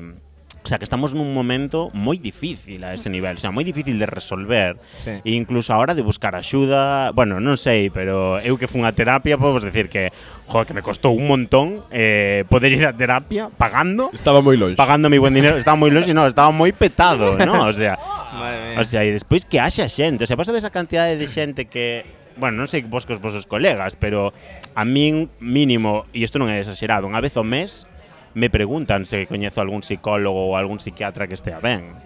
E: O sea, que estamos nun momento moi difícil a ese nivel, o sea, moi difícil de resolver
C: Sí.
E: e incluso a hora de buscar axuda, bueno, non sei, pero eu que fun a terapia, podemos decir que, jo, que me costou un montón eh, poder ir a terapia pagando,
D: Estaba moi longe.
E: pagando mi buen dinero, estaba moi longe, non, estaba moi petado, non? O sea,
C: Madre mía.
E: O sea, e despois que haxa xente, o sea, vos sabes a cantidade de xente que Bueno, non sei vos cos vosos colegas, pero a min mínimo, e isto non é exagerado, unha vez ao mes me preguntan se coñezo algún psicólogo ou algún psiquiatra que estea ben.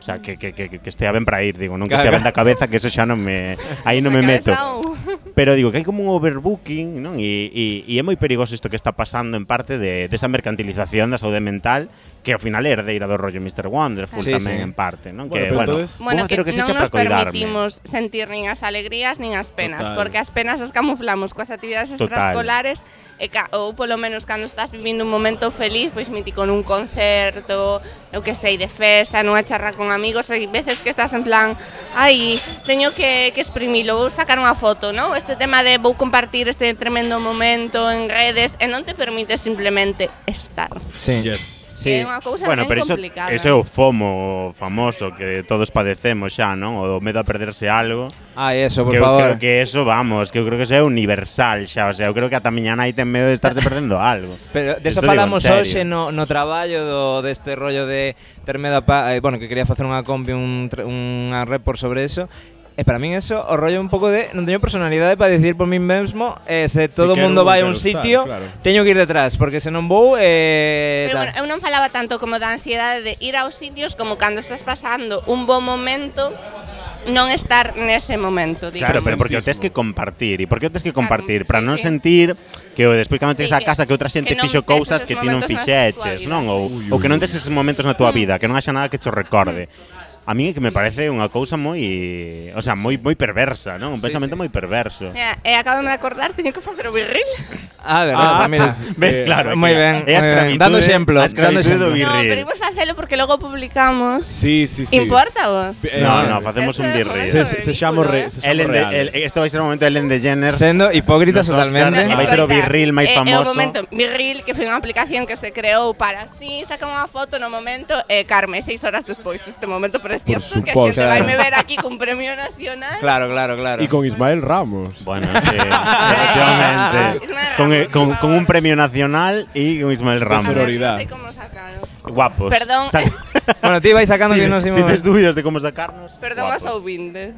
E: O sea, que, que, que, que estea ben para ir, digo, non que
C: Claro,
E: estea ben da cabeza, que eso xa non me... Aí non me
B: Na
E: meto.
B: cabeza ou-
E: Pero digo que hai como un overbooking, non? E, e, e é moi perigoso isto que está pasando en parte de, desa mercantilización da saúde mental que ao final é herdeira do rollo Mr. Wonderful
C: Sí,
E: tamén
C: sí.
E: en parte, non?
D: Bueno,
E: que,
D: pero
E: bueno,
D: entonces-
E: vou
B: Bueno,
E: facer
B: que,
E: o que
B: non
E: sexa
B: nos
E: para coidarme.
B: permitimos sentir nin as alegrías nin as penas,
D: Total.
B: porque as penas as camuflamos coas actividades
E: Total.
B: extraescolares e ca, ou polo menos cando estás vivindo un momento feliz, pues pois mítico nun concerto, eu que sei, de festa, nunha charra con amigos, hai veces que estás en plan, ai, teño que, que exprimilo, vou sacar unha foto, non? Este tema de vou compartir este tremendo momento en redes e non te permite simplemente estar.
C: Sí.
D: Yes.
C: Sí.
B: É unha cousa
E: Bueno,
B: ben
E: pero iso,
B: complicada.
E: iso é o FOMO famoso que todos padecemos xa, non? O do medo a perderse algo.
C: Ah, eso, por
E: que eu
C: favor.
E: creo que eso, vamos, que eu creo que eso é universal xa. O sea, eu creo que ata miña nai ten medo de estarse perdendo algo.
C: Pero
E: Isto
C: deso
E: digo en
C: falamos
E: serio.
C: hoxe no, no traballo do, deste rollo de ter medo a pa, eh, bueno, que quería facer unha compi un, tra- unha report sobre eso. E para min eso, o rollo un pouco de non teño personalidade para decir por min mesmo, eh, se
D: Si
C: todo o
D: quero,
C: mundo
D: non
C: vai a
D: quero
C: un
D: estar,
C: sitio,
D: claro.
C: teño que ir detrás, porque se non vou eh
B: Pero
C: tal.
B: bueno, eu non falaba tanto como da ansiedade de ir aos sitios como cando estás pasando un bo momento non estar nese momento,
E: Claro,
B: digamos.
E: pero porque o tes
D: Narcisismo.
E: que compartir. E por que o tes que compartir?
B: Claro,
E: Para
B: sí,
E: non
B: sí.
E: sentir que o despois cando
B: Sí,
E: chegues a
B: que-
E: casa que outra xente
B: que non tes
E: fixo cousas
B: esos
E: que ti non
B: momentos Mm. na
E: fixeches,
B: tua vida.
E: non? Ou,
D: Ui,
E: ou que
D: ui,
E: non tes esos momentos na tua vida, que non haxa nada que cho recorde.
B: Mm.
E: A mí é que me parece unha cousa moi, o sea, moi moi perversa, non? Un
C: Sí, sí.
E: pensamento moi perverso.
B: Mira, e acabo de acordar, teño que facer o birril.
C: Ah, verdad, pues
D: Ah,
C: mira.
D: pues,
E: Ves,
D: Eh,
E: claro.
C: moi
E: que
C: ben,
E: É a
C: moi ben.
E: escravitude,
C: Dando exemplo,
E: a
C: dando
E: escravitude
B: No,
C: exemplo.
E: do birril.
B: pero imos facelo porque logo publicamos.
D: Sí, sí, sí.
B: Importa vos?
D: Eh,
E: No,
D: sí.
E: no, facemos un
B: Ese
E: birril.
D: Se, se, se llama
B: Ridículo,
D: re,
B: ¿eh?
D: se llama
E: Ellen de,
D: reales.
E: el, este vai ser o momento de Ellen DeGeneres.
C: Sendo hipócritas
E: Nos Oscar,
C: totalmente.
E: vai ser o
B: escoita,
E: birril
B: é-
E: máis
B: É o Eh,
E: famoso.
B: momento, birril, que foi unha aplicación que se creou para si, sí, saca unha foto no momento, e Carme, seis horas despois, este momento precioso, que a xente
C: suposto.
B: vai me ver aquí cun premio nacional.
C: Claro, claro, claro.
D: Y con Ismael Ramos.
E: Bueno, sí, efectivamente.
B: Ismael Ramos,
E: con, eh, con-
B: por
E: con
B: favor.
E: un premio nacional y con Ismael Ramos.
B: A ver,
D: Sororidad.
B: Non sei como sacaron.
E: Guapos.
B: Perdón.
E: Sac-
C: Bueno, ti vais sacando
E: si,
C: que nos
E: si
C: imos.
E: tienes dudas de cómo sacarnos.
B: Perdón aos
E: guapos.
B: ouvintes.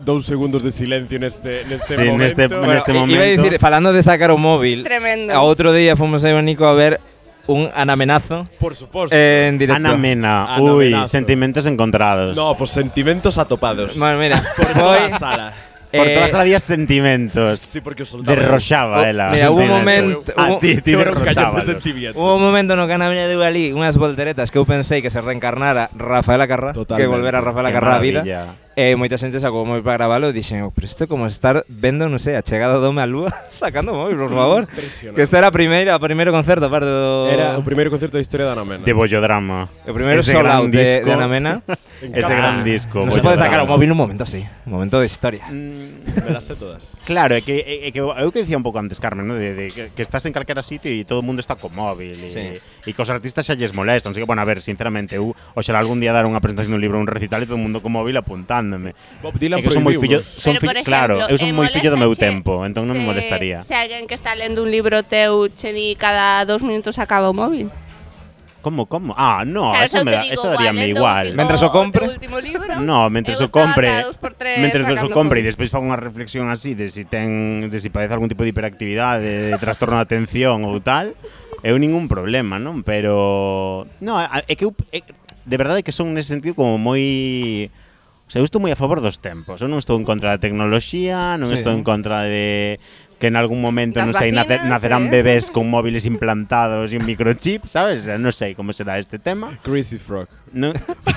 D: Dos segundos de silencio en este, en este
E: Sí, en
D: momento.
E: este- en
D: Bueno,
E: este
C: i-
E: momento.
C: Iba a decir, falando de sacar o móvil,
B: Tremendo.
C: a outro día fomos eu e Nico a ver un anamenazo
D: Por supuesto.
C: eh, en directo.
E: Ana Mena,
D: Ana
E: uy,
D: Menazo.
E: sentimientos encontrados.
D: no, pues sentimientos atopados.
C: Bueno, mira,
D: por
C: voy,
D: toda la sala.
E: Por
C: eh,
E: todas las días sentimientos.
D: Sí, porque os soltaba.
E: derrochaba eh,
C: Oh,
E: él. a
C: mira, hubo un
E: sentimientos.
C: momento-
E: Ah,
C: hubo-
E: ti, ti
D: Te fueron callando
E: derrochábalos.
D: sentimientos.
C: eh, Hubo un momento no que Ana Mena deu ali unhas volteretas que eu pensei que se reencarnara Rafaela Carrá,
D: Totalmente.
C: que volvera Rafaela
E: Que
C: Carrá a vida.
E: maravilla.
C: E moita xente sacou o móvil para gravalo e dixen, pero isto é como estar vendo, non sei, a chegada do Home á Lúa sacando o móvil, por favor.
D: Impresionante.
C: Que esta era a primeira, o primeiro concerto, aparte do...
D: Era el primer concierto de historia de Ana Mena.
E: De Bollodrama.
C: O primeiro
E: Ese
C: solo
E: gran
C: out de,
E: disco.
C: de Ana Mena.
E: Ese gran disco.
C: non se pode sacar o móvil
E: Bollodrama.
C: un momento así, un momento de historia.
E: Mm.
D: Me las sé todas.
E: Claro, é que, é, é que eu que dicía un pouco antes, Carmen, ¿no? de, de que, que estás en calquera sitio e todo o mundo está co móvil e,
C: Sí.
E: e que os artistas xa lles molestan. Así que, bueno, a ver, sinceramente, eu oxalá algún día dar unha presentación dun libro un recital e todo o mundo co móvil apuntándome.
D: Bob Dylan
E: é que son moi
D: prohibiunos.
E: fillo, son
B: Pero, por
E: fillo, claro,
B: exemplo,
E: eu son
B: eh,
E: moi fillo do meu
B: moléstache
E: tempo, entón non me
B: se-
E: molestaría.
B: Se alguén que está lendo un libro teu che di cada dos minutos acaba o móvil.
E: Como, como? Ah, no,
B: Claro,
E: eso,
B: eu
E: me
B: te
E: da,
B: digo, ¿eh?
E: eso daríame
B: "Guau, lendo
E: igual.
B: último-
C: Mentres o compre.
B: último libro,
E: No, mentres
B: eu
E: o
B: estaba
E: compre,
B: cada dous eh, por tres
E: mentres dos o
B: sacando
E: compre e
B: fotos.
E: despois fa unha reflexión así de si ten, de si padece algún tipo de hiperactividade, de trastorno de atención ou tal, eu ningún problema, non? Pero no, a- é que eu, é, de verdade que son nese sentido como moi O sea, eu estou moi a favor dos tempos. Eu non estou en contra da tecnoloxía, non
C: Sí.
E: estou en contra de que en algún momento,
B: Das
E: non sei, nace-
B: vacinas,
E: nacerán
B: eh.
E: bebés con móviles implantados e un microchip, sabes? O sea, non sei como será este tema.
D: Crazy Frog.
E: No,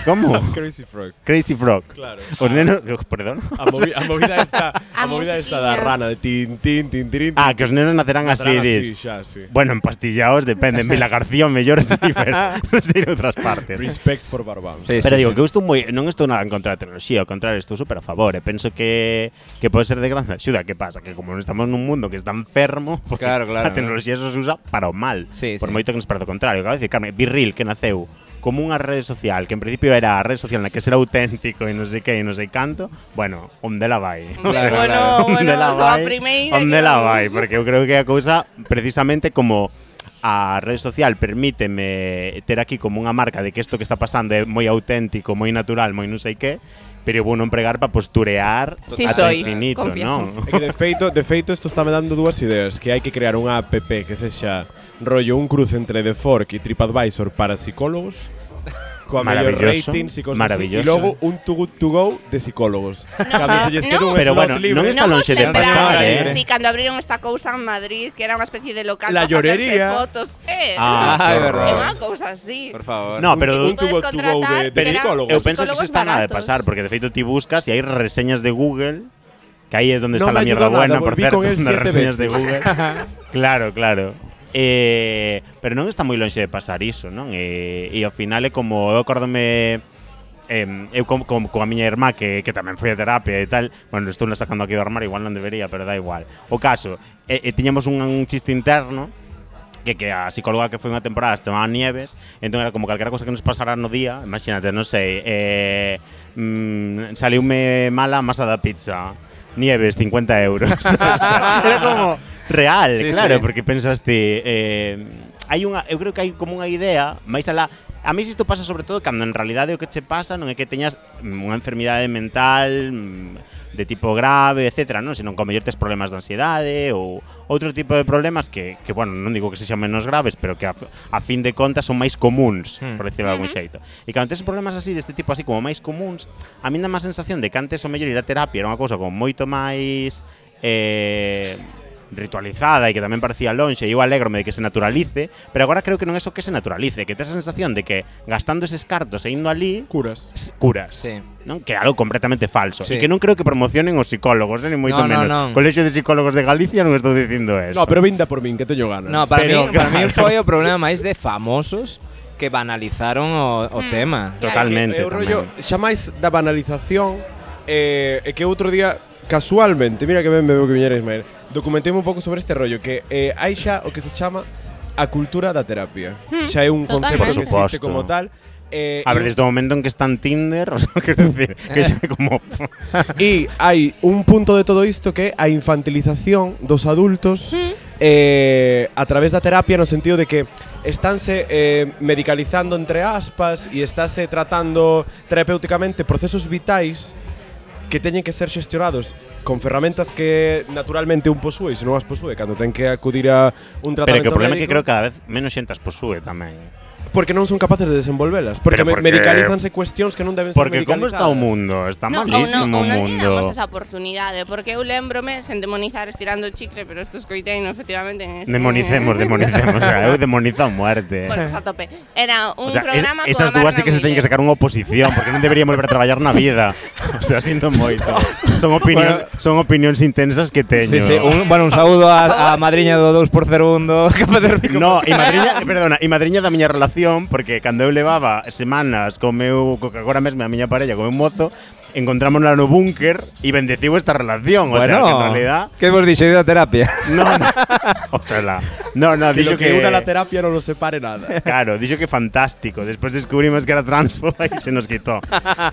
E: como?
D: Crazy Frog.
E: Crazy Frog.
D: Claro.
E: Os nenos, perdón.
D: A, movi- a movida esta, a,
B: A
D: movida esta da
B: musiquiña.
D: rana de tin tin tin tin.
E: Ah, que os nenos nacerán así,
D: Nacerán
E: dis.
D: así, xa, sí.
E: Bueno, empastillaos, depende. En Vila García, mellor sí, pero non sei en outras partes.
D: Respect for Barbán.
C: Sí,
E: pero
C: sí,
E: digo
C: sí.
E: que eu estou moi, non estou nada en contra da tecnoloxía, ao contrario, estou super a favor e penso que que pode ser de gran axuda. Que pasa? Que como non estamos nun mundo que está enfermo, pues,
C: Claro, claro,
E: a tecnoloxía só se usa para o mal.
C: Sí,
E: por
C: sí.
E: moito que nos parece o contrario. Acabo de dicir, Carmen, Virril, que naceu como unha rede social, que en principio era a rede social na que será auténtico e non sei que e non sei canto, bueno, onde la vai?
B: Claro, bueno, Oh, bueno, só a primeira
E: Onde
B: que
E: la
B: vamos.
E: vai? Porque eu creo que a cousa precisamente como a rede social permíteme ter aquí como unha marca de que isto que está pasando é moi auténtico, moi natural, moi non sei que, pero eu vou non pregar para posturear
B: Sí
E: ata
B: soy,
E: infinito,
B: confieso.
E: non?
D: É que de feito, de feito isto está me dando dúas ideas, que hai que crear unha app que sexa rollo un cruce entre The Fork e TripAdvisor para psicólogos. Coa mellor
E: Maravilloso,
D: ratings e cosas así.
E: maravilloso.
D: E logo un to good to go de psicólogos. Cando se lles
B: no.
D: quede un
E: Pero
D: slot
E: bueno,
D: libre,
E: non está
B: Non
E: lonxe
B: vos
E: de
B: lembrades,
D: pasar, eh.
B: Sí, cando abriron esta cousa en Madrid, que era unha especie de local
D: La
B: para facerse
D: llorería.
B: fotos. Eh,
E: Ah,
C: Ah, é
E: qué
B: é
C: verdad.
E: horror.
B: unha cousa así.
C: Por favor.
E: No, pero
D: un to
B: Podes
D: good to go
B: contratar,
D: de, de
E: pero-
D: psicólogos.
E: Eu penso que
B: Psicólogos
E: iso está nada de
B: baratos.
E: pasar, porque de feito ti buscas e hai reseñas de Google, que aí é donde
D: No
E: está
D: me
E: la mierda
D: ayudó nada,
E: buena, por
D: volví
E: certo,
D: con él
E: nas
D: siete
E: reseñas de
D: veces.
E: Google. claro, claro. Eh, pero non está moi lonxe de pasar iso, non? E, e ao final é como, eu acórdome em, eu con, con, con a miña irmá que, que tamén foi a terapia e tal bueno, estou na sacando aquí do armario, igual non debería pero da igual, o caso e, e tiñamos un, un chiste interno que, que a psicóloga que foi unha temporada se chamaba Nieves, entón era como calquera cosa que nos pasara no día, imagínate, non sei, eh, mm, saliume mala a masa da pizza, Nieves, 50 euros. O sea, era como real,
C: Sí,
E: claro,
C: sí.
E: porque pensaste, eh, hai unha, eu creo que hai como unha idea, máis alá, A mí isto pasa sobre todo cando en realidade o que che pasa non é que teñas mm, unha enfermidade mental mm, de tipo grave, etcétera, non, senón que ao mellor tes problemas de ansiedade ou outro tipo de problemas que, que bueno, non digo que sexan menos graves, pero que a, f- a fin de contas son máis comuns,
C: Hmm.
E: por decirlo de algún xeito. E cando tes problemas así deste tipo así como máis comuns, a mí dá má sensación de que antes o mellor ir a terapia era unha cousa como moito máis eh, ritualizada e que tamén parecía lonxe e eu alegrome de que se naturalice, pero agora creo que non é só que se naturalice, que tes a sensación de que gastando eses cartos e indo ali
D: Curas.
E: s- curas.
C: Sí.
E: Non? Que é algo completamente falso.
C: Sí.
E: E que non creo que promocionen os psicólogos, eh, ni
C: No,
E: moito
C: no,
E: menos.
C: non.
E: Colexio de Psicólogos de Galicia non estou dicindo eso.
D: No, pero vinda por min, que teño ganas.
C: No, para,
E: Pero,
C: mí, para mí
E: claro.
C: foi o problema máis de famosos que banalizaron o, o tema.
E: Totalmente.
D: É o Eh, rollo
E: tamén.
D: xa máis da banalización eh, e que outro día casualmente, mira que ben me veo que viñera Ismael, documentei un pouco sobre este rollo que eh, hai xa o que se chama a cultura da terapia.
B: Hmm,
D: Xa é un concepto
B: totalmente.
D: que existe
E: Por suposto.
D: como tal. Eh,
E: A ver, desde o momento en que está en Tinder, o sea, quero decir,
C: Eh.
E: que xa é como...
D: E hai un punto de todo isto que é a infantilización dos adultos eh, a través da terapia no sentido de que estánse eh, medicalizando entre aspas e estáse tratando terapéuticamente procesos vitais que teñen que ser xestionados con ferramentas que naturalmente un posúe e se non as posúe cando ten que acudir a un
E: Pero
D: tratamento
E: que o problema é que
D: médico,
E: creo que cada vez menos xente as posúe tamén.
D: porque non son capaces de desenvolvelas porque,
E: Pero
D: me-
E: porque-
D: medicalizanse cuestións que non deben ser
E: Porque como está
D: medicalizadas.
E: o mundo? Está
B: No,
E: malísimo
B: ou non, ou
E: o
B: non lle
E: mundo.
B: damos esa oportunidade, porque eu lembrome, sen demonizar estirando o chicle, pero estos coiteino efectivamente... En este,
E: Demonicemos, demonicemos. o sea, eu demonizo a muerte.
B: Bueno, Pues a tope. Era un
E: O sea, es-
B: programa
E: esas
B: coa
E: dúas sí
B: Marna
E: que se teñen que
B: Miller.
E: sacar unha oposición, porque non deberían volver a traballar na vida. O sea, sinto moito. Son opinión, son opinións intensas que teño.
C: Sí, sí, un, bueno, un saúdo a, a madriña do 2 por 01 que facer
E: No, e madriña, perdona, e madriña da miña relación porque cando eu levaba semanas co meu co que agora mesmo é a miña parella, co meu mozo, encontrámonos no búnker y bendecivo esta relación. O sea, que en realidad.
C: ¿Qué hemos dicho? He ido a terapia.
E: No, no. O sea, la- no, no,
D: Que
E: dixo
D: lo
E: que.
D: que una la terapia non nos separe nada.
E: Claro, dixo que fantástico. Después descubrimos que era transfoba y se nos quitó.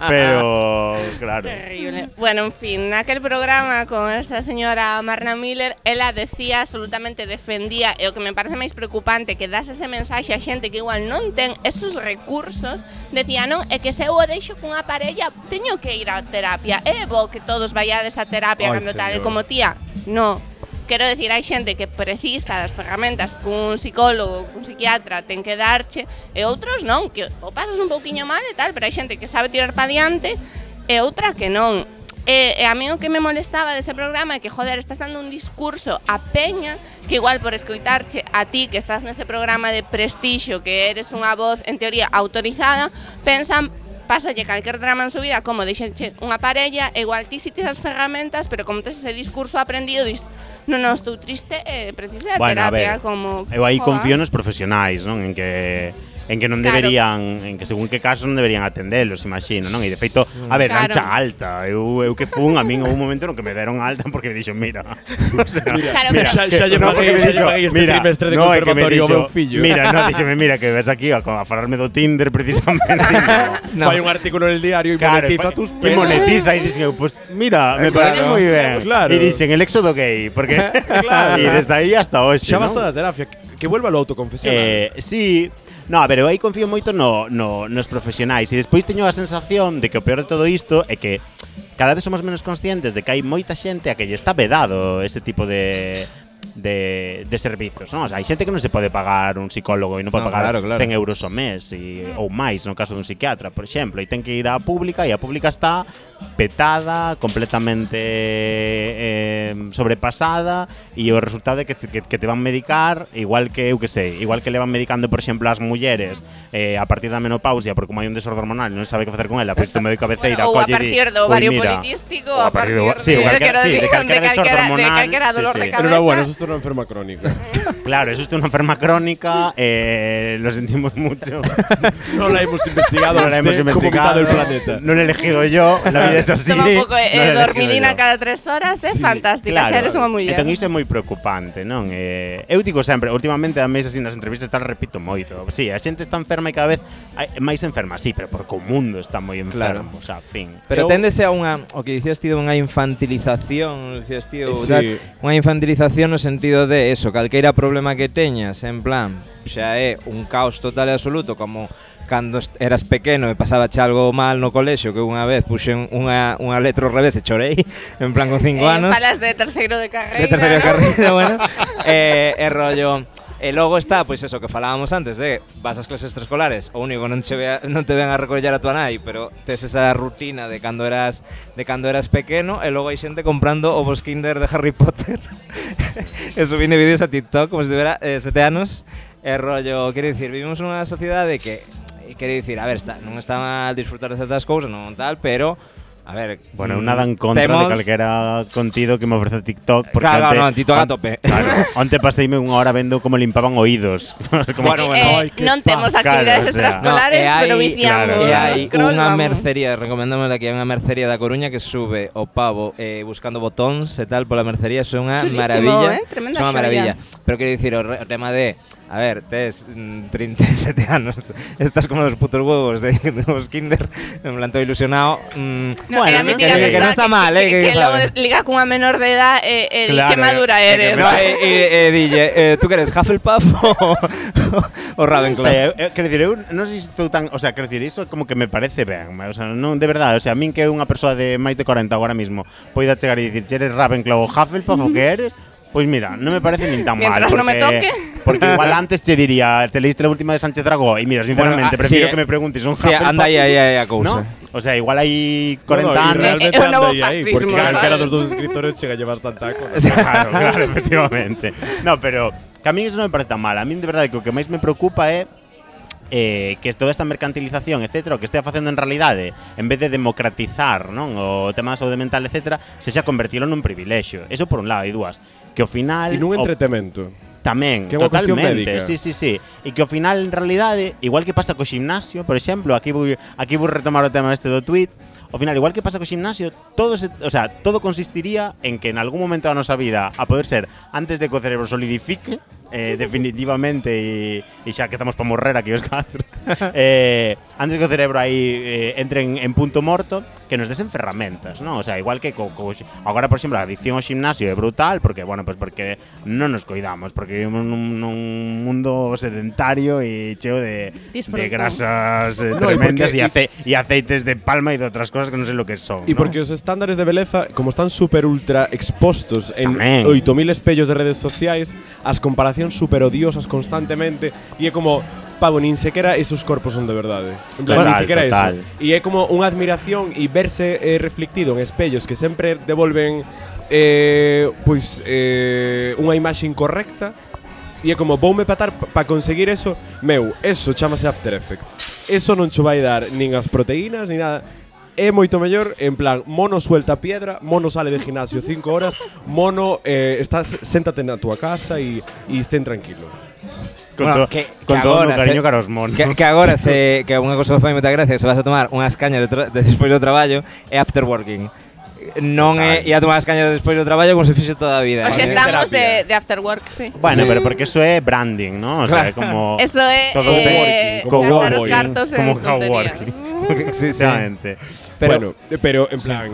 E: Pero, claro.
B: Terrible. Bueno, en fin, en aquel programa con esta señora Marna Miller, ela decía absolutamente defendía, e o que me parece máis preocupante, que das ese mensaxe a xente que igual non ten esos recursos, decía, non, é que se eu o deixo cunha parella, teño que ir á terapia, é bo que todos vayades á terapia
D: Ai,
B: cando tal, e
D: señor.
B: como tía, no. Quero decir, hai xente que precisa das ferramentas cun psicólogo, cun psiquiatra, ten que darche, e outros non, que o pasas un pouquiño mal e tal, pero hai xente que sabe tirar pa diante e outra que non. E, e a mí o que me molestaba dese programa é que, joder, estás dando un discurso a peña que igual por escoitarche a ti que estás nese programa de prestixio, que eres unha voz, en teoría, autorizada, pensan pásalle calquer drama en su vida como deixenche unha parella, e igual ti si tes as ferramentas, pero como tes ese discurso aprendido, dis, non, non, estou triste, eh, preciso de
E: Bueno, a
B: terapia,
E: ver,
B: como...
E: Eu aí
B: joa.
E: confío nos profesionais, non? En que en que non
B: Claro.
E: deberían, en que según que caso non deberían atendelos, imagino, non? E de feito, a ver,
B: Claro.
E: ancha alta, eu, eu que fun, a min houve un momento no que me deron alta porque me dixo, mira, o sea,
B: Claro, pero-
D: Xa- xa lle paguei-
E: porque me
D: xa lle
E: dixo,
D: paguei este trimestre de
E: é que me
D: conservatorio ao
E: dixo,
D: meu fillo.
E: Mira, no, dixome, mira, que ves aquí a, a falarme do Tinder precisamente.
C: No.
D: Fai un artículo en el diario e
E: Claro,
D: monetiza
E: pa-
D: tus
E: y
D: penas.
E: monetiza y dicen, pues mira, me
D: claro.
E: parece muy bien.
D: Claro.
E: Y dicen el éxodo gay, porque
D: Claro.
E: y desde ahí hasta hoy.
D: Xa
E: ¿no?
D: basta da terapia, que, que vuelva lo autoconfesional.
E: Eh, sí, no, a ver, eu aí confío moito no, no, nos profesionais E despois teño a sensación de que o peor de todo isto é que Cada vez somos menos conscientes de que hai moita xente a que lle está vedado ese tipo de, de, de servizos non? O sea, hai xente que non se pode pagar un psicólogo e non pode
C: No,
E: pagar
C: claro, claro.
E: 100 euros ao mes e, ou máis no caso dun psiquiatra, por exemplo E ten que ir á pública e a pública está petada, completamente eh, sobrepasada e o resultado é que, que, que te van medicar igual que, eu que sei, igual que le van medicando, por exemplo, as mulleres eh, a partir da menopausia, porque como hai un desorde hormonal e non sabe que facer con ela, pois tú me doy cabeceira,
B: ou a
E: colle e di,
B: partir do
E: "Ui,
B: ovario
E: mira".
B: poliquístico,
E: Ou
B: a partir do...
E: sí, o calquera- sí, de calquera desorde hormonal,
B: De calquera
E: sí,
B: dolor
E: sí.
B: de cabeza.
D: Enhorabuena, bueno, eso es una enferma crónica.
E: Claro, eso es una enferma crónica, eh, lo sentimos mucho.
D: no la hemos investigado,
E: no la hemos
C: este
E: este, investigado.
D: el planeta.
E: No lo he elegido yo, la vida es así.
B: Toma un pouco
E: no la he
B: eh,
E: elegido
B: dormidina
E: yo.
B: cada tres horas, é
D: Sí,
B: fantástica, xa eres unha muller.
E: Entón iso é moi preocupante, non? Eh, eu digo sempre, últimamente a mes así nas entrevistas tal repito moito. Si, sí, a xente está enferma e cada vez hai- máis enferma, sí, pero porque o mundo está moi enfermo, claro. o sea, fin.
C: Pero
D: Eu-
C: téndese a unha, o que dicías ti, de unha infantilización, dicías ti, ou
D: Sí.
C: tal, unha infantilización no sentido de eso, calqueira problema que teñas, en plan, xa é un caos total e absoluto, como cando est- eras pequeno e pasaba che algo mal no colexo, que unha vez puxen unha, unha letra ao revés e chorei, en plan con cinco
B: Eh,
C: anos.
B: falas de terceiro de carreira.
C: de terceira
B: ¿no?
C: carreira, bueno. eh, e rollo E logo está, pois eso que falábamos antes de vas ás clases extraescolares, o único non che vea, non te ven a recoller a tua nai, pero tes esa rutina de cando eras de cando eras pequeno e logo hai xente comprando o Kinder de Harry Potter. e subindo vídeos a TikTok como se tivera eh, sete anos. E rollo, quero dicir, vivimos nunha sociedade que e quero dicir, a ver, está, non está mal disfrutar de certas cousas, non tal, pero a ver,
E: Bueno,
C: mm,
E: eu nada en contra de
C: temos-
E: calquera contido que me ofrece TikTok porque
C: Claro,
E: onte,
C: no, TikTok a
E: on-
C: tope.
E: Claro, onte paseime unha hora vendo como limpaban oídos. como
B: Eh,
D: Bueno, bueno,
B: eh,
D: ai, que
B: non temos
E: paz,
B: actividades
E: cara, o sea.
B: extraescolares,
C: No, e hai-
B: pero viciamos.
E: claro,
C: E
E: Os
C: hai
B: scroll,
C: unha
B: vamos.
C: mercería, recomendamos aquí, hai unha mercería da Coruña que sube o pavo eh, buscando botóns e tal pola mercería, é unha
B: Chulísimo,
C: maravilla.
B: eh, tremenda
C: é unha
B: xoia.
C: maravilla. Pero quero dicir, o, re- o tema de, a ver, tes mm, 37 anos, estás como los putos huevos de, de os kinder, en plan, todo ilusionado. mm,
B: No,
E: Bueno,
B: era a
E: no,
B: mítica
E: que- que
B: persoa
E: non
C: está mal, eh,
B: Que,
C: que-
B: que, que logo
C: vale.
B: liga cunha menor de edad, eh, eh, Pues
E: Claro,
B: que madura
E: eh, que
B: eres.
C: No, eh, eh, eh, dille, eh, tú que eres Hufflepuff o, o
E: O
C: Ravenclaw?
E: sea, eu, eu, quero Eh, dicir, eu non sei se estou tan, o sea, quero dicir, iso como que me parece ben, o sea, non de verdade, o sea, a min que unha persoa de máis de 40 agora mismo poida chegar e dicir, "Che eres Ravenclaw ou Hufflepuff o que eres?" Pois mira, non me parece nin tan mal.
B: Mientras
E: Porque,
B: no me toque.
E: Porque igual antes te diría, te leíste la última de Sánchez Dragó y mira, sinceramente,
C: ah,
E: prefiero
C: sí,
E: que me preguntes un
C: sí,
E: Hufflepuff,
C: anda aí, aí, aí a cousa.
E: ¿no? O sea, igual hai
D: No, no, y
E: 40 anos.
D: realmente
B: É un novo
D: anda aí, aí,
B: fascismo,
D: Porque calquera
B: ¿sabes?
D: dos dos escritores chega a llevar tan taco.
C: O sea,
E: Claro, claro, efectivamente. No, pero que a mí eso non me parece tan mal. A mí de verdade que o que máis me preocupa é eh, que toda esta mercantilización, etcétera, o que estea facendo en realidade, en vez de democratizar non o tema da saúde mental, etcétera, se xa convertilo nun privilexio. Eso por un lado, e dúas, que ao final...
D: E nun
E: o-
D: entretemento.
E: Tamén,
D: Que é unha cuestión
E: totalmente.
D: médica.
E: Sí, sí, sí. E que ao final, en realidade, igual que pasa co ximnasio, por exemplo, aquí vou, aquí vou retomar o tema este do tweet, ao final, igual que pasa co ximnasio, todo, se, o sea, todo consistiría en que en algún momento da nosa vida, a poder ser antes de que o cerebro solidifique, eh, definitivamente, e, e xa que estamos para morrer aquí os catro, eh, antes que o cerebro aí eh, entre en, en punto morto, que nos desen ferramentas, ¿no? O sea, igual que co, co, agora, por exemplo, a adicción ao ximnasio é brutal, porque, bueno, pues porque non nos coidamos, porque vivimos nun, nun mundo sedentario e cheo de, de
B: Disfruto.
E: grasas
D: No,
E: eh,
D: y
E: tremendas
D: porque-
E: e, ace- e aceites de palma e de outras cosas que non sei lo que son,
D: Y
E: ¿no?
D: porque los estándares de belleza, como están super ultra expostos en
E: Tamén.
D: 8000 espellos de redes sociais, as comparacións super odiosas constantemente e é como pavo, nin sequera esos corpos son de eh. verdade. En plan,
E: Total,
D: nin sequera
E: total.
D: eso. E é como unha admiración e verse eh, reflectido en espellos que sempre devolven eh, pois eh, unha imaxe incorrecta E é como, voume patar para conseguir eso Meu, eso chamase After Effects Eso non cho vai dar nin as proteínas, nin nada É moito mellor, en plan, mono suelta piedra, mono sale de gimnasio 5 horas, mono eh, estás, séntate na túa casa e, e estén tranquilo.
E: Con,
C: Bueno,
E: to, con todo o meu
C: se-
E: cariño cara aos monos.
C: Que, que agora se que unha cousa que fai moita gracia, se vas a tomar unhas cañas de tra- despois do traballo é after working. Non é ir a tomar as cañas despois do traballo como se fixe toda a
B: O
C: vida.
B: sea,
C: Eh,
B: estamos de,
D: terapia.
B: de after work, sí.
E: Bueno, pero porque eso é branding, ¿no? O sea, é como
B: Eso é
E: Todo
B: eh,
D: working,
B: gastar
D: como
B: os
D: coworking,
B: cartos en
E: como
B: tonterías.
E: coworking.
C: sí, sí.
E: Exactamente.
C: Pero
D: bueno, eh, pero en plan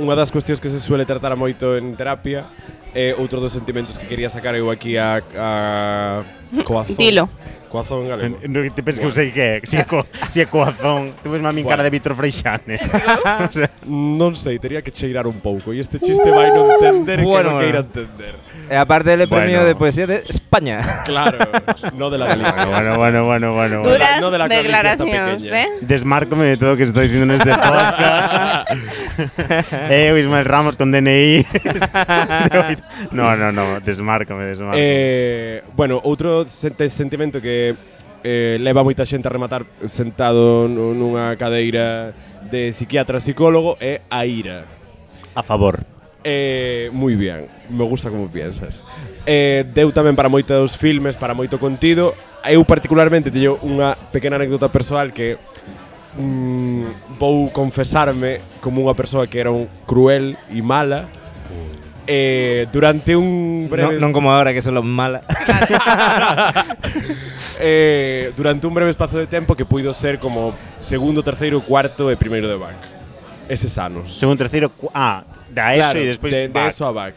D: unha das cuestións que se suele tratar moito en terapia é outro dos sentimentos que quería sacar eu aquí a, a coazón.
B: Dilo.
D: Coazón en galego.
E: No te penses que eu sei que é, si é, co, si é coazón, tú ves mami cara de Víctor Freixanes. o sea,
D: Non sei, tería que cheirar un pouco e este chiste vai non entender
C: Bueno,
D: que non queira
C: bueno.
D: entender.
C: e aparte del premio
E: Bueno.
C: de poesía de España.
D: Claro, no de la galicia.
E: bueno, bueno, bueno, bueno, bueno.
B: Duras
D: no de la crónica esta
B: declaracións,
D: pequeña.
B: eh?
E: Desmárcome de todo o que estou dicindo neste este podcast. eh, o Ismael Ramos con DNI. no, no, no, desmárcame, desmárcame.
D: Eh, bueno, outro sente- sentimento que eh, leva moita xente a rematar sentado nu- nunha cadeira de psiquiatra psicólogo é a ira.
E: a favor.
D: Eh, moi bien, me gusta como piensas. Eh, deu tamén para moitos filmes, para moito contido. Eu particularmente teño unha pequena anécdota persoal que mm, vou confesarme como unha persoa que era un cruel e mala. Eh, durante
C: No,
D: un breve
C: non como agora que son los mala.
D: eh, durante un breve espazo de tempo que puido ser como segundo, terceiro, cuarto e primeiro de back. Eses anos.
E: Segundo, terceiro, cu- ah, da eso e despois
D: de, de
E: back.
D: eso a back.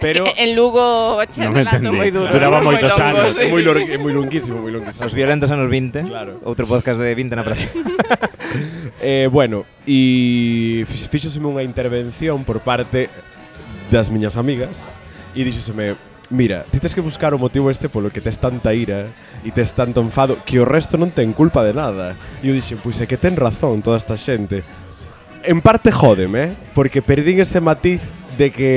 D: Pero
B: Que en Lugo
E: Non me
B: bacharelato
E: entendí.
B: moi duro.
E: Duraba
B: moi
E: moitos
B: longo,
E: anos,
B: sí,
D: é moi
B: sí,
D: lor-
B: sí.
D: é moi longuísimo, moi longuísimo.
C: Los violentos anos 20.
D: Claro.
C: Outro podcast de 20 na praza.
D: Eh, bueno, e fix- fíxoseme unha intervención por parte das miñas amigas e díxoseme, mira, ti tes que buscar o motivo este polo que tes tanta ira e tes tanto enfado que o resto non ten culpa de nada. E eu dixen, pois é que ten razón toda esta xente. En parte jódeme, eh, porque perdín ese matiz de que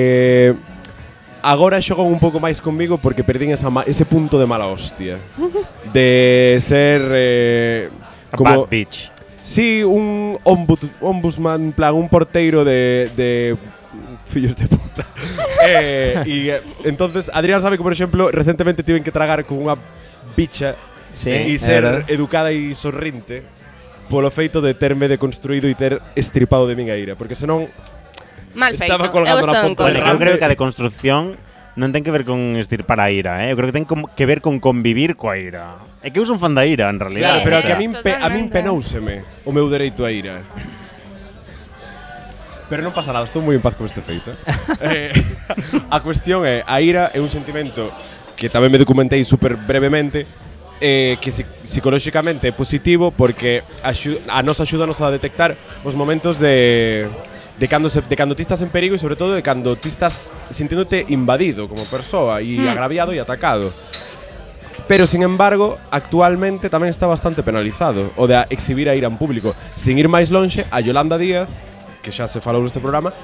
D: agora xogan un pouco máis comigo porque perdín esa ma- ese punto de mala hostia. De ser eh,
E: A
D: como
E: bad bitch.
D: Sí, un ombud- ombudsman, en plan, un porteiro de, de fillos de puta. eh, y eh, entonces, Adrián sabe que, por ejemplo, recientemente tienen que tragar con una bicha
C: Sí, é
D: y ser
C: verdade.
D: educada y sorrinte polo feito de terme deconstruído y ter estripado de mi ira. Porque senón,
B: Mal feito.
D: Estaba colgando
B: Eu
D: na
B: estou en
D: ponta da
E: Vale,
B: contra.
E: eu creo que a deconstrucción non ten que ver con estirpar a ira, eh? Eu creo que ten com- que ver con convivir coa ira. É que eu son fan da ira, en realidad.
D: claro, pero
E: o
D: a que
E: sea,
D: a min, pe, a min
B: Totalmente.
D: penouseme o meu dereito a ira. Pero non pasa nada, estou moi en paz con este feito. eh, a cuestión é, a ira é un sentimento que tamén me documentei super brevemente, eh, que psi- psicolóxicamente é positivo porque axu a nos axúdanos a detectar os momentos de de cando, se, de cando ti estás en perigo e sobre todo de cando ti estás sintiéndote invadido como persoa e
E: Hmm.
D: agraviado e atacado. Pero, sin embargo, actualmente tamén está bastante penalizado o de a exhibir a ira en público. Sin ir máis lonxe, a Yolanda Díaz, que xa se falou neste programa,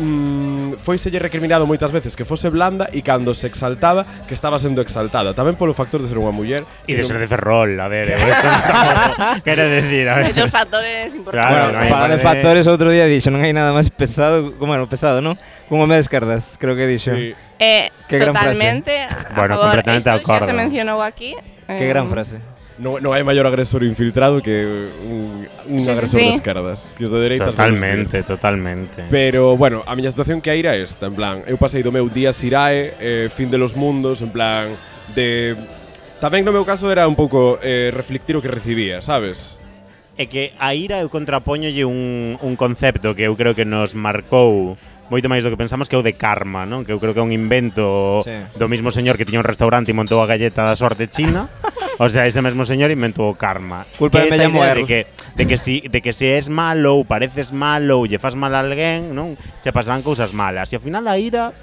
D: mm, foiselle recriminado moitas veces que fose blanda e cando se exaltaba que estaba sendo exaltada. Tamén polo factor de ser unha muller
E: Y
D: que
E: E de
D: non-
E: ser de Ferrol, a ver, eu esto non tampouco Quero decir, a
B: Hay dos
E: ver.
B: factores
E: Claro,
B: importantes.
E: no hay
C: para de
E: parece-
C: factores outro día dixo, non hai nada máis pesado, bueno, pesado, non? Como me descardas, creo que dixo.
D: Sí.
B: Eh,
C: Qué gran frase.
B: totalmente. a
E: Bueno,
B: favor.
E: completamente de
B: Esto Ya
E: acuerdo.
B: se mencionó aquí.
C: Qué
B: eh,
C: gran frase.
D: No, no hai maior agresor infiltrado que un, un
B: Sí, sí,
D: agresor
B: sí.
D: de esquerdas. Que os de dereitas
E: Totalmente, totalmente.
D: Pero, bueno, a miña situación que hai era esta, en plan, eu pasei do meu día sirae, eh, fin de los mundos, en plan, de... Tamén no meu caso era un pouco eh, reflectir o que recibía, sabes?
E: É que a ira eu contrapóñolle un, un concepto que eu creo que nos marcou moito máis do que pensamos que é o de karma, non? Que eu creo que é un invento
C: Sí.
E: do mismo señor que tiña un restaurante e montou a galleta da sorte china. o sea, ese mesmo señor inventou o karma.
C: Culpa de
E: que esta
C: Mella
E: idea
C: Moer.
E: de que de que si de que se es malo ou pareces malo ou lle fas mal a alguén, non? Che pasarán cousas malas. E ao final a ira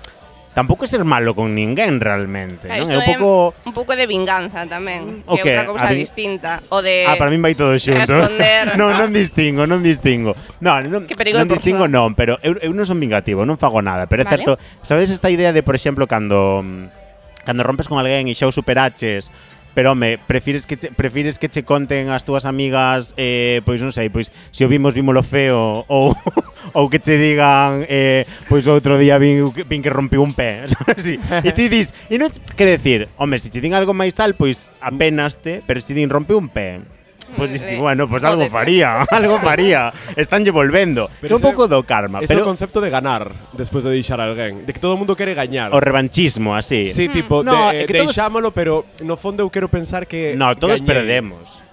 E: tampouco é ser malo con ninguén realmente,
B: claro, Ah,
E: non?
B: iso
E: É un
B: é
E: pouco
B: un pouco de vinganza tamén,
E: O
B: que
E: que?
B: é outra cousa
E: A vin-
B: distinta, o de
E: Ah, para min vai todo xunto.
B: responder,
E: non,
B: ¿no?
E: non distingo, non distingo. Non, non,
B: Que perigo
E: non
B: de
E: distingo
B: persoa.
E: non, pero eu, eu non son vingativo, non fago nada, pero é
B: Vale.
E: certo, sabedes esta idea de, por exemplo, cando mm, cando rompes con alguén e xa o superaches, pero home, prefires que che, prefires que che conten as túas amigas eh, pois non sei, pois se o vimos vímolo feo ou ou que che digan eh, pois outro día vin, vin que rompiu un pé, sabes? Sí. E ti dis, e non que decir, home, se che din algo máis tal, pois apenaste, pero se che din rompiu un pé, Pois
B: Mm,
E: diste,
B: eh,
E: bueno, pois
B: jódete.
E: algo faría, algo faría. Estánlle volvendo.
D: Pero
E: Pero un
D: ese-
E: pouco do karma,
D: Ese é o
E: pero
D: concepto de ganar despois de deixar a alguén, de que todo o mundo quere gañar.
E: o revanchismo así.
B: Mm.
D: Sí, tipo,
E: No,
D: de,
E: é que todos-
D: deixámolo, pero no fondo eu quero pensar que
E: No, todos
D: gañei.
E: perdemos.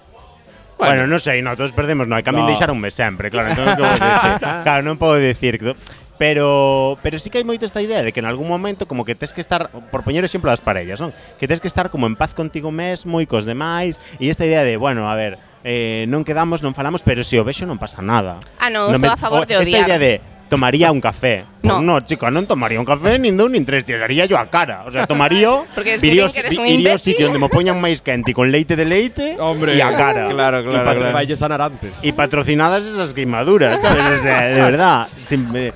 E: Bueno, non sei, no, todos perdemos, no, a
D: No.
E: min deixaronme sempre, claro, entón que vou dicir. Claro, non podo dicir que- Pero pero sí que hai moito esta idea de que en algún momento como que tes que estar, por poñer o exemplo das parellas, non? Que tes que estar como en paz contigo mesmo e cos demais e esta idea de, bueno, a ver, eh, non quedamos, non falamos, pero se o vexo non pasa nada.
B: Ah, no, estou a favor de
E: Esta
B: odiar.
E: idea de tomaría un café.
B: No.
E: No, no chico, non tomaría un café nin dous nin tres, tiraría yo a cara. O sea, tomaría,
B: Porque descubrín
E: iría ao
B: que
E: si-
B: eres un
E: iría ao
B: imbécil.
E: sitio onde me poñan máis quente con leite de leite
D: Hombre.
E: e a cara.
C: Claro,
D: E
C: claro,
D: para
C: claro.
D: traballes sanar antes.
E: Y patrocinadas esas queimaduras, ¿sabes? O sea, de verdad. sin- eh,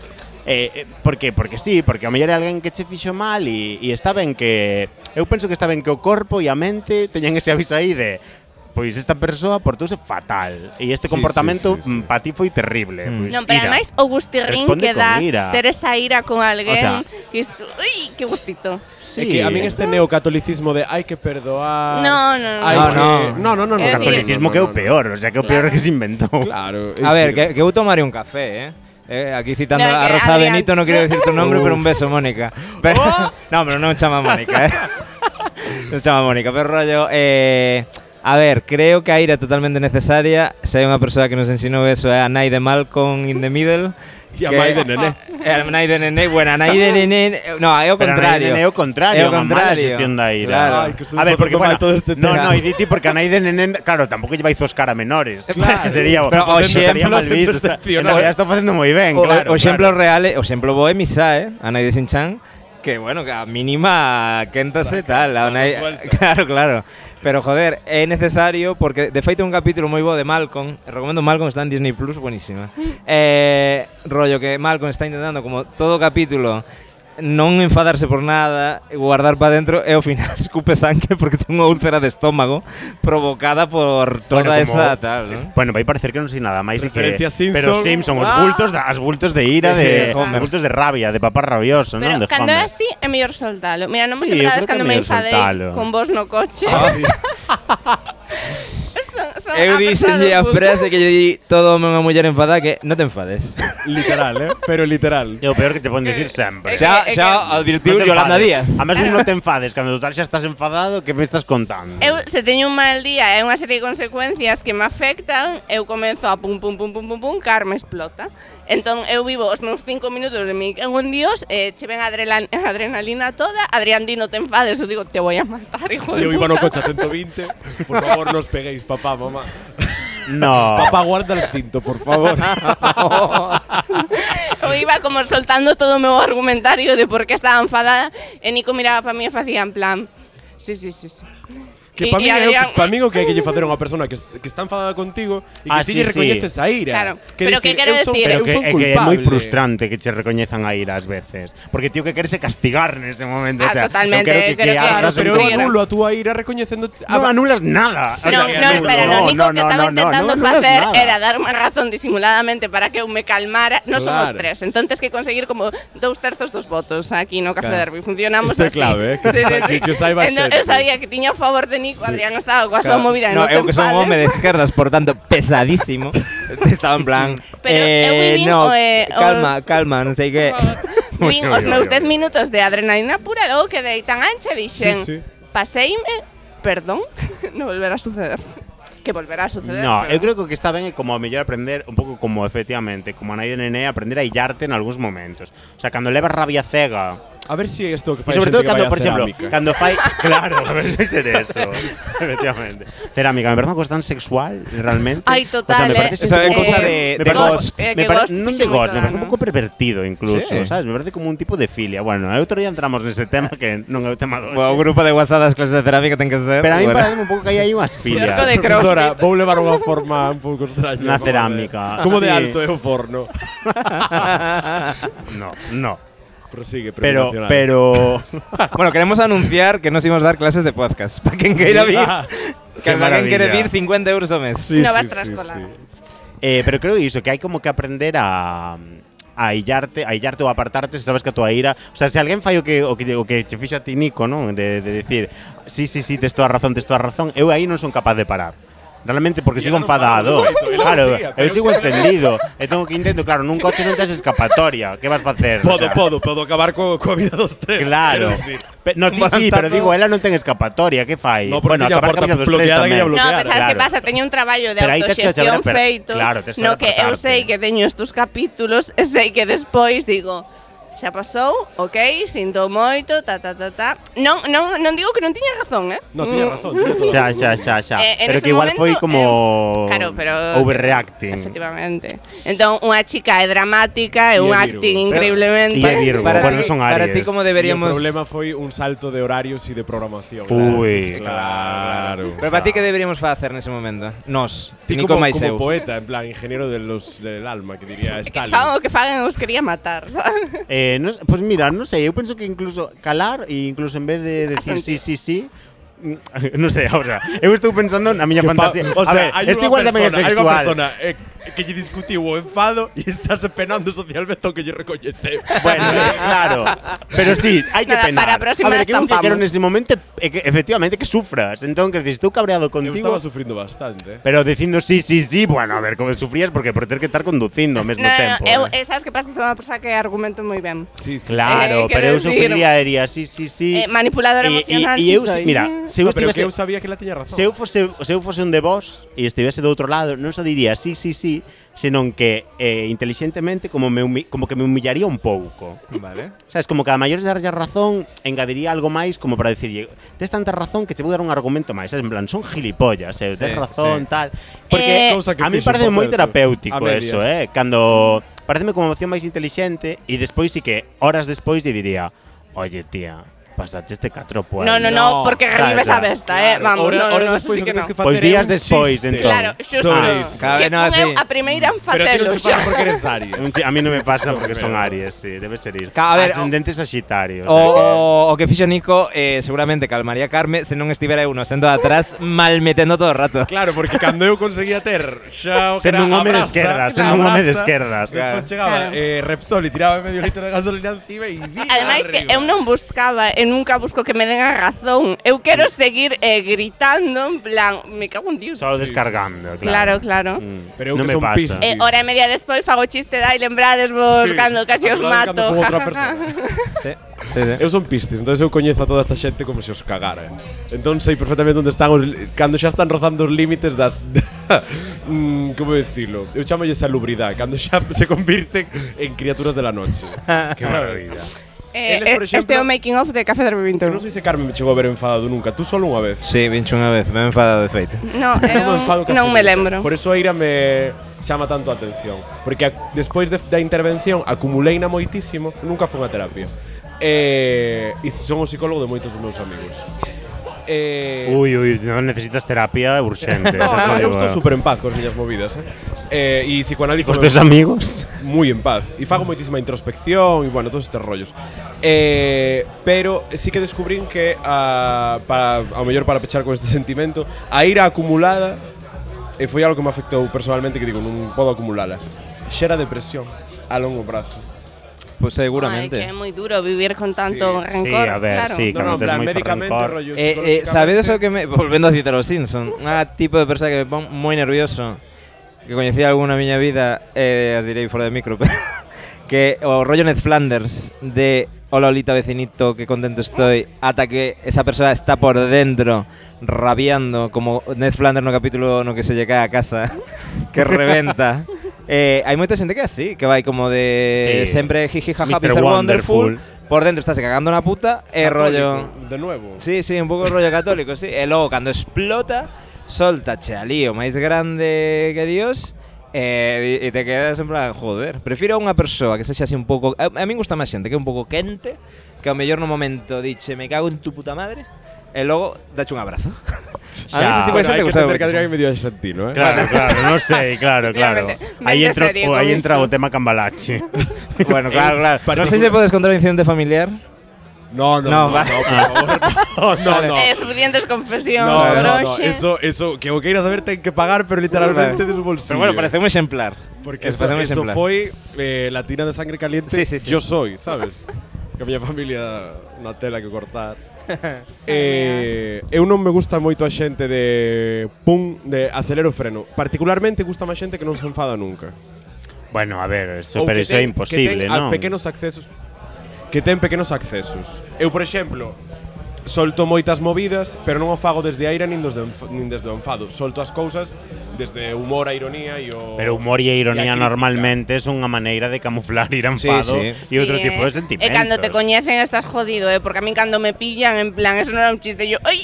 E: eh, eh, por que? Porque sí, porque a mellor é alguén que che fixo mal e, e está ben que... Eu penso que está ben que o corpo e a mente teñan ese aviso aí de pois esta persoa portouse fatal e
D: Sí,
E: este comportamento
D: sí, sí, sí.
E: mm, pa ti foi terrible.
C: Mm.
E: Pois,
B: Non, pero
E: ira.
B: ademais o gustirrín
E: Responde
B: que
E: con
B: dá
E: ira.
B: ter esa ira con alguén,
E: O sea-
B: que isto, ui, que gustito.
D: É que a min este neocatolicismo de hai que perdoar.
B: No, no, no.
D: hai
C: No,
D: que-
C: no.
D: no, no, no, no,
B: É
E: O
D: no,
E: catolicismo
D: no,
E: que é o
D: no,
E: peor, o sea, que é o peor
B: Claro.
E: que se inventou.
D: no. Claro. é
C: A ver,
D: decir,
C: que, que eu tomaría un café, eh? Eh, aquí citando
B: No,
C: a
B: que
C: Rosa
B: Adrián-
C: Benito, no quiero decir tu nombre, pero un beso, Mónica. Pero,
E: Oh.
C: no, pero no me chama Mónica, ¿eh? No me chama Mónica, pero rollo... Eh, a ver, creo que a ira é totalmente necesaria. Se hai unha persoa que nos ensinou eso é a Nai de Malcolm in the Middle.
D: E a Nai de Nené.
C: Eh, a Nai de Nené, bueno, a Nai de Nené... eh, No, é o
E: Pero
C: contrario.
E: Nai de Nené é o contrario,
C: É o
E: unha mala
C: contrario,
E: xestión da ira.
C: claro.
D: Ai, que estou
E: a ver, porque
D: facendo
E: bueno,
D: mal todo este
E: no,
C: tema.
E: no, e diti porque a nai de nenén, claro, tampouco lle vai zoscar a menores.
C: Claro.
E: sería
C: Pero o
E: estaría
C: exemplo
E: mal visto.
D: sempre
E: está- En
D: excepcional.
E: realidad está facendo moi ben,
C: o,
E: claro.
C: o exemplo
E: claro.
C: real, é- o exemplo bo é Misae, a Naide Sinchan, que bueno, que a mínima quéntase tal, a Nai-
D: suelta.
C: claro, claro. Pero joder, é necesario porque de feito é un capítulo moi bo de Malcolm, recomendo Malcolm, está en Disney Plus, buenísima. Eh, rollo que Malcolm está intentando como todo o capítulo non enfadarse por nada, guardar para dentro e ao final escupe sangue porque ten unha úlcera de estómago provocada por toda
E: Bueno, como-
C: esa tal,
E: es-
C: ¿no?
E: Bueno, vai parecer que non sei nada máis e que
D: Referencia Simpson.
E: Pero Simpson, os
C: Ah.
E: bultos, da- as bultos de ira,
C: Sí,
E: de
C: Homer.
E: bultos de rabia, de papá rabioso, non?
B: Pero
E: De
B: cando é
E: Homer.
B: así é mellor soltalo. Mira, non vos
E: Sí, eu
B: lembrades
E: creo que
B: cando
E: é
B: me
E: mellor
B: enfadei
E: soltalo.
B: con vos no coche. Son- son
C: Ah, Eu
B: a persona
C: dixenlle
B: do
C: a
B: punto.
C: frase que lle di todo home a unha muller enfadada que non te enfades.
D: Literal, eh? Pero literal.
E: É o peor que te poden dicir
B: Eh,
E: sempre.
C: xa
B: eh,
C: xa
B: que-
C: advirtiu Yolanda Díaz.
E: A mesmo non te enfades, cando total xa estás enfadado, que me estás contando?
B: Eu, se teño un mal día e unha serie de consecuencias que me afectan, eu comenzo a pum pum pum pum pum pum, car me explota. Entón eu vivo os meus cinco minutos de mi cago en Dios, eh, che ven a adrela- a adrenalina toda, Adrián di no te enfades, eu digo te voy a matar, hijo de
D: Eu iba
B: puta.
D: no coche a 120. Por favor, nos peguéis, papá, mamá.
E: No.
D: Papá, guarda el cinto, por favor.
B: Eu iba como soltando todo o meu argumentario de por que estaba enfadada e Nico miraba para mí e facía en plan Sí, sí, sí, sí. E-
D: Que
B: e
D: para min, é o que,
B: Adrián-
D: pa min o que hai que lle facer a unha persona que, est- que está enfadada contigo e que
E: Ah,
D: ti
E: sí,
D: lle
E: sí.
D: recoñeces a ira.
B: Claro, pero que quero
D: eu son,
B: decir-
E: Pero
D: eu
E: que,
D: son
E: é que
D: culpable.
E: é moi frustrante que che recoñezan a ir ás veces. Porque tío que querese castigar nese momento.
B: Ah,
E: o sea, eu
B: totalmente,
E: quero que,
B: creo que-
E: que
D: Claro,
E: hagas
D: pero eu
E: un
B: Sufrir.
D: anulo a túa ira recoñecendo
E: No anulas nada.
B: No, no,
D: que
E: anulo.
B: espera,
D: no,
B: lo único que estaba
E: no, no,
B: intentando
E: no anulas
B: hacer
E: nada.
B: era darme razón disimuladamente para que eu me calmara. No somos
D: Claro.
B: tres, entonces que conseguir como dous terzos dos votos aquí no Café
D: Claro.
B: Derby. Funcionamos
D: Isto é
B: así.
D: clave, eh, que
B: Sí, sí,
D: se sa-
B: sí.
D: que- que o saiba
B: Entón, Eu
D: xente.
B: sabía que tiña o favor de Nico, Adrián estaba coa súa
C: Claro.
B: movida.
C: no,
B: te
C: eu que son
B: enfades.
C: un home de esquerdas, por tanto, pesadísimo. Estaba en plan,
B: Pero eu
C: eh,
B: vivín
C: no,
B: o, eh,
C: calma,
B: os-
C: calma, non sei que.
B: Vin
E: Oi,
B: os
E: oi, oi,
B: meus 10
E: oi.
B: minutos de adrenalina pura e logo quedei tan ancha e dixen
D: Sí, sí.
B: Paseime, perdón, non volverá a suceder Que volverá a suceder
E: No,
B: pero-
E: eu creo que o que está ben é como a mellor aprender un pouco como efectivamente, como a nai de nené, aprender a illarte en algúns momentos. O sea, cando levas rabia cega,
D: A ver si é isto o que
E: E
D: fai
E: sobre
D: xente
E: todo
D: que
E: cando,
D: vai a
E: por exemplo,
D: cerámica.
E: cando fai... Claro, a ver se ser eso. Efectivamente. Cerámica, me parece unha cosa tan sexual, realmente.
B: Ai, total,
E: o sea, me
B: eh.
E: parece
B: Eso
E: xente
B: é
E: como-
B: cosa
E: me
C: de- de
E: parece-
B: Ghost. Eh,
E: Me
B: que
E: pare-
B: Ghost
E: non
B: fixo
E: de
B: moito
E: ghost, me parece
B: dano.
E: un pouco pervertido, incluso,
C: Sí.
E: sabes? Me parece como un tipo de filia. Bueno, outro día entramos nese tema que non é o tema do...
C: O Pues grupo de WhatsApp das clases de cerámica ten que ser.
E: Pero a mí
C: bueno.
E: parece un pouco que aí hai unhas filias.
B: Cerco de cross.
D: Profesora, vou levar unha forma un pouco extraña.
E: Na
D: como de-
E: cerámica.
D: Como de
E: Sí.
D: alto é o forno.
E: No, no.
D: Prosigue, Ah.
E: Pero, pero...
C: Bueno, queremos anunciar que nos íbamos a dar clases de podcast. Para quen queira vir,
E: Ah, Qué
C: que alguén quere vir
E: maravilla.
C: 50 euros ao mes.
D: Sí,
B: No vas
D: sí,
B: tras
D: sí,
B: cola.
D: sí.
E: Eh, pero creo iso, que hai como que aprender a a illarte, a illarte ou apartarte se sabes que a tua ira, o sea, se alguén fai o que o que o que che fixo a ti Nico, non, de de decir, sí, sí, sí, tes toda a razón, tes toda a razón, eu aí non son capaz de parar. Realmente
D: E
E: porque sigo
D: eu non paro,
E: enfadado.
D: non moito, e logo
E: Claro,
D: siga, pero
E: eu sigo
D: siga.
E: encendido. E tengo que intento, claro, nun coche non tes escapatoria. Que vas facer? O
D: Podo,
E: sea,
D: podo, podo acabar co, coa vida dos tres.
E: Claro.
D: quero dicir.
E: Pe- No, ti sí,
C: Levantando-
E: pero digo, eh. ela non ten escapatoria, que fai?
D: No, porque
E: bueno,
D: ella porta
E: acabar cabida dos tres
D: bloqueada que ella
E: tamén.
B: No,
D: bloquear,
B: pero sabes
E: claro.
B: que pasa? Teño un traballo de
E: Pero aí tes que
B: autoxestión
E: saber per-
B: feito
E: claro, tes que
B: No
E: saber
B: que eu
E: apartarte.
B: sei que teño estes capítulos E sei que despois digo Xa pasou, ok, sinto moito, ta, ta, ta, ta Non, non, non digo que non tiña razón, eh?
D: No, tiña
B: Mm,
D: razón. tiña toda
E: Xa, xa, xa, xa.
B: Eh, en
E: pero
B: ese
E: que igual
B: momento, eh,
E: foi como
B: Claro, pero
E: overreacting.
B: Efectivamente. Entón, unha chica é dramática e
D: E
B: un
D: é
B: acting
D: Virgo.
B: increíblemente.
E: E é Virgo,
C: Para ti-
E: bueno, son
C: para ti
E: Aries.
C: como
D: Y
C: deberíamos
D: El problema foi un salto de horarios y de programación.
E: Uy,
D: Claro,
E: claro.
C: Pero para ti que deberíamos facer nese momento? Nos,
D: Ti
C: Nico
D: como,
C: máis eu.
D: como poeta, en plan, ingeniero de los, del alma, que diría
B: Que
D: Stalin.
B: fagan o que fagan, os quería matar, sabes?
E: Eh, no, pues mira, no sé, yo pienso que incluso calar e incluso en vez de decir sí,
B: Asentir.
E: sí, sí, mm, no sé, o sea, eu estou pensando na miña
D: Que pa-
E: fantasía.
D: o sea,
E: a ver,
D: hay
E: esto
D: unha
E: igual tamén é
D: persona- Hay una
E: sexual.
D: persona eh, que lle discutiu o enfado y estás penando socialmente o que lle recoñece.
E: Bueno, eh, claro. Pero sí, hay que
B: Nada,
E: penar.
B: para a próxima
E: a ver, que eu que
B: estampamos.
E: quero nese momento é que efectivamente que sufras. Entón, que dices, estou cabreado
D: Yo
E: contigo.
D: estaba sufriendo bastante. eh.
E: Pero dicindo sí, sí, sí, bueno, a ver, como sufrías porque por ter que estar conducindo ao mesmo
B: No, no,
E: tempo.
B: eu, eh,
E: eh.
B: sabes que pasa? Son unha persoa que argumento moi ben.
D: Sí, sí.
B: Eh,
E: Claro, pero
B: quero
E: eu
B: decir-
E: sufriría, diría sí, sí,
B: Eh,
E: sí.
B: manipuladora
E: E- e-
B: emocional,
E: e
B: sí Mm.
E: eu,
B: soy.
E: mira, se
D: No,
E: eu
D: pero que
E: estivese
D: eu sabía que la tenía razón.
E: Se eu fose, se eu fose un de vos e estivese do outro lado, non só diría sí, sí, sí, senón que eh, intelixentemente como me humi- como que me humillaría un pouco.
C: Vale.
E: Sabes, como que a maiores darlle razón, engadiría algo máis como para dicirlle, tes tanta razón que te vou dar un argumento máis, sabes, en plan, son gilipollas,
C: Sí,
E: eh, tes
C: sí.
E: razón, tal.
D: Eh,
E: Porque
D: Cousa que
E: a mí
D: fixo,
E: parece
D: por
E: moi
D: certo,
E: terapéutico
D: a
E: eso,
D: medias.
E: eh, cando pareceme como opción máis intelixente e despois sí que horas despois lle diría, "Oye, tía, pasaste este catro pueblo".
B: no, no, no,
D: no,
B: porque
E: claro,
B: revives a
E: claro.
B: besta, eh? Vamos,
D: ahora,
B: no, no,
D: ahora
B: no, eso sí
D: despois o
B: que
D: que tens
B: no.
D: que facer
E: Pois
D: é
E: Pues días
D: un
E: despois,
D: chiste.
E: entón.
B: Claro, xusto.
D: Sobre iso.
C: Claro,
B: que
C: no,
B: fun eu
C: sí.
B: a primeira en
D: Pero ti
B: facelo.
D: non che pasa porque eres
E: Un
D: Aries.
E: chi- A mí no me pasa porque son Aries, sí, debe ser iso.
C: Ca- a ver,
E: Ascendente Sagitario.
C: O,
D: Oh.
C: o, o que fixo Nico eh, seguramente calmaría Carme se non estivera eu no sendo atrás mal metendo todo o rato.
D: Claro, porque cando eu conseguía ter xa o que era
E: Sendo un home de
D: a brasa,
E: esquerdas,
D: a
E: sendo un home de
D: brasa,
E: esquerdas.
D: Despois
C: Claro.
D: chegaba
B: Claro.
D: eh, Repsol e tiraba medio litro de gasolina encima e
B: Ademais que eu non buscaba, eu nunca busco que me den a razón. Eu quero seguir eh, gritando en plan, me cago en Dios.
E: Solo
D: sí,
E: descargando,
B: Claro,
E: claro.
B: claro.
E: Mm,
D: Pero eu
E: non
D: que
E: me
D: son
E: pasa.
D: piscis.
B: E hora e media despois fago chiste dai, lembrades vos
D: Sí.
B: cando casi os
D: Lembrades
B: mato.
D: cando fun
B: ja, ja,
D: outra
B: ja.
D: persona.
C: Sí, sí, sí.
D: Eu son piscis, entonces eu coñezo a toda esta xente como se os cagara. Entón sei perfectamente onde están os, li- cando xa están rozando os límites das mm, como decirlo? Eu chamo esa salubridade, cando xa se convirten en criaturas de la noche.
E: Qué maravilla.
B: Eh,
D: Eles, por
B: eh, este é
D: exemplo-
B: o making of de Café Derby
D: Eu
B: 21.
D: non sei se Carmen me chegou a ver enfadado nunca, tú solo unha vez.
C: Sí, vincho unha vez, me he enfadado de feito.
B: No, eu
D: Eu me enfado casi
B: non me
D: nunca.
B: lembro.
D: Por eso a ira me chama tanto a atención, porque a, despois de, da intervención acumuleina moitísimo, nunca fui a terapia. Eh, e son o psicólogo de moitos dos meus amigos. Eh,
E: Ui, ui, non necesitas terapia urxente.
D: no,
E: xa te
D: eu
E: digo,
D: estou
E: eh.
D: super en paz cos miñas movidas, eh? eh e psicoanalizo
E: Os teus amigos?
D: moi en paz e fago moitísima introspección e bueno, todos estes rollos. Eh, pero sí que descubrín que a para ao mellor para pechar con este sentimento, a ira acumulada e foi algo que me afectou personalmente que digo, non podo acumulala. Xera depresión a longo prazo.
C: Pues
B: Ay, que
C: seguramente.
B: es muy duro vivir con tanto
D: Sí,
B: rencor.
E: sí, a ver,
B: claro.
E: sí. cando
D: en
E: tes
D: plan,
E: moito
D: médicamente,
E: rencor.
D: rollo
C: Eh, eh, ¿Sabes eso que me. Volviendo a citar a los Simpsons, un tipo de persona que me pone muy nervioso, que conocí alguna en miña vida, eh, os diré fuera de micro, pero. que o rollo Ned Flanders de Hola Olita vecinito, qué contento estoy, hasta que esa persona está por dentro rabiando, como Ned Flanders no capítulo no que se llega a casa, que reventa. Eh, hai moita xente que é así, que vai como de
E: Sí.
C: sempre jiji jaja
E: Mr.
C: Mr. Wonderful,
E: Wonderful.
C: por dentro estás cagando na puta, e rollo
D: de nuevo.
C: Sí, sí, un pouco rollo católico, sí. E logo, cando explota, soltache a lío máis grande que Dios e, e te quedas en plan, joder, prefiro a unha persoa que sexa así un pouco... A, a min gusta máis xente que é un pouco quente, que ao mellor no momento diche, me cago en tu puta madre, e logo dache un abrazo. a mí
E: Xa,
C: ese tipo de
D: Bueno,
C: xente
D: hai que
C: gusta
D: entender que Adrián é medio argentino, eh?
E: Claro, claro, non sei, claro, claro.
B: Efectivamente.
E: Aí
B: Vente
E: entra,
B: serio
E: o, aí
B: con
E: entra
B: isto.
E: o tema cambalache.
C: Bueno, claro, claro.
D: Para-
C: non sei se podes contar un incidente familiar.
D: No, no,
C: No,
D: no, no,
C: va.
D: no, no, no, no.
B: Eh, suficientes confesiones,
D: No, no, no,
B: broche.
D: Eso, eso, que o queiras saber ten que pagar, pero
C: Vale.
D: literalmente de su bolsillo.
C: Pero bueno, parece un exemplar.
D: Porque
C: Es-
D: eso,
C: parece un
D: eso
C: exemplar.
D: foi eh, la tina de sangre caliente
C: Sí, sí, sí.
D: yo soy, sabes? que a miña familia unha tela que cortar. eh, eu non me gusta moito a xente de pum, de acelero freno. Particularmente gusta máis xente que non se enfada nunca.
E: Bueno, a ver,
D: Ou
E: eso, pero
D: que
E: iso é
D: ten- que
E: imposible,
D: ten a-
E: non?
D: pequenos accesos que ten pequenos accesos. Eu, por exemplo, solto moitas movidas, pero non o fago desde a ira nin desde, o enf- nin desde o enfado. Solto as cousas desde o humor, a ironía e o
E: Pero humor e
D: e a
E: a ironía
D: crítica.
E: normalmente é unha maneira de camuflar ir enfado
C: Sí,
E: e
C: sí.
E: outro
B: Sí,
E: tipo
B: eh.
E: de
B: Eh,
E: sentimentos.
B: cuando te coñecen estás jodido, eh, porque a mí cuando me pillan, en plan, eso no era un chiste, yo, ¡ay!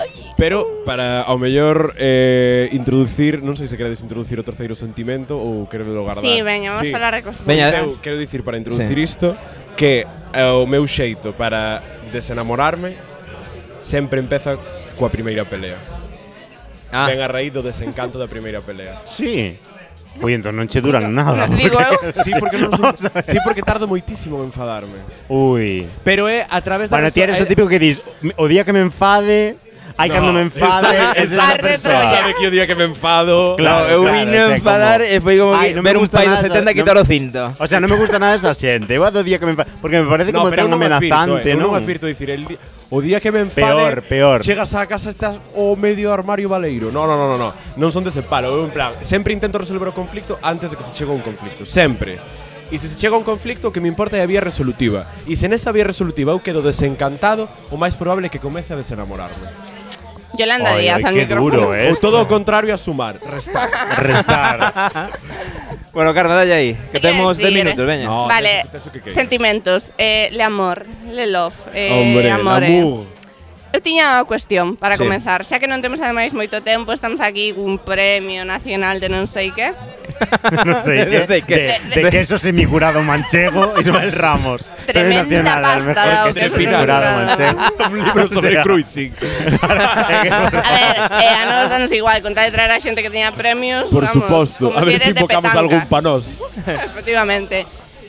B: ¡ay!
D: Pero para ao mellor eh, introducir, non sei se queredes introducir o terceiro sentimento ou querelo guardar.
B: Sí, veña, vamos a falar de cosas
C: Veña,
D: Pois eu
B: bonitas.
D: quero dicir para introducir isto que eh, o meu xeito para desenamorarme sempre empeza coa primeira pelea.
C: Ah,
D: Ven a raíz do desencanto da primeira pelea.
E: Sí. Ui, entón non che duran nada.
B: Nos digo eh, eu.
D: Sí, porque non son, sí, porque tardo moitísimo en enfadarme.
E: Ah. Ui.
D: Pero é a través da
E: Bueno, ti
D: perso-
E: eres
B: eh.
D: é-
E: o típico que dis, o día que me enfade, ai
D: No,
E: cando me
D: esa-
E: enfade, es esa
B: esa-
E: persoa.
D: sabe que o día que me enfado.
E: Claro,
C: eu
E: claro,
C: vine
E: o
C: a
E: sea,
C: enfadar e
E: como-
C: foi como
E: Ai,
C: que
E: non me
C: ver un
E: gusta
C: pai do
E: nada,
C: 70
E: non-
C: quitar o cinto.
E: O sea, non me gusta nada esa xente. Eu do día que me enfade, porque me parece como
D: pero
E: tan
D: eu non me advirto,
E: amenazante,
D: eh, eu
E: non?
D: Non advirto dicir el di- o día que me enfade.
E: Peor, peor.
D: Chegas á casa estás o medio armario baleiro. No, no, no, no, no. Non son dese palo, eu en plan, sempre intento resolver o conflicto antes de que se chegue a un conflicto, sempre. E se se chega a un conflicto, o que me importa é a vía resolutiva. E se nesa vía resolutiva eu quedo desencantado, o máis probable é que comece a desenamorarme.
B: Yolanda
E: Ay,
B: Díaz
E: ay,
B: al
E: qué
B: micrófono.
E: duro, eh.
D: Ou todo o contrario a sumar. Restar.
E: Restar.
C: Bueno, Carmen, dalle aí,
B: Te
C: que
B: quero
C: temos 10
B: dicir, eh.
C: minutos, veña.
D: No,
B: vale,
D: eso- eso que queres.
B: sentimentos, eh, le amor, le love, eh,
D: Hombre,
B: amor, eh.
D: amor.
B: Eu tiña unha cuestión para
C: Sí.
B: comenzar Xa que non temos ademais moito tempo Estamos aquí cun premio nacional de non sei que
E: non sei que,
C: Non sei que.
E: De, de queso semicurado manchego, Ismael Ramos.
B: Tremenda
E: Premio nacional al
B: pasta
E: mejor
B: da
E: queso
D: Ocasión
E: semicurado
D: Nacional.
E: manchego.
D: Un libro sobre cruising.
B: A ver, eh, a nos danos igual Contar de traer a xente que tiña premios
D: Por
B: vamos,
D: suposto.
B: como
D: A ver
B: eres de
D: se invocamos
B: petanca.
D: algún panós.
B: Efectivamente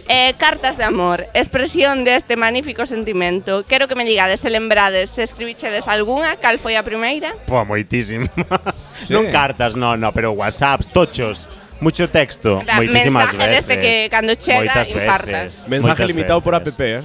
B: Eh, cartas de amor, expresión deste magnífico sentimento Quero que me digades, se lembrades, se escribichedes algunha Cal foi a primeira?
E: Pua, moitísimas. Non cartas, no, no, pero whatsapps, tochos, mucho texto,
B: En plan,
E: moitísimas
B: mensaje
E: veces.
B: deste este que cando chega
E: Moitas
B: infartas.
E: veces,
D: Mensaje
E: moitas
D: limitado por app,
E: veces.
D: eh?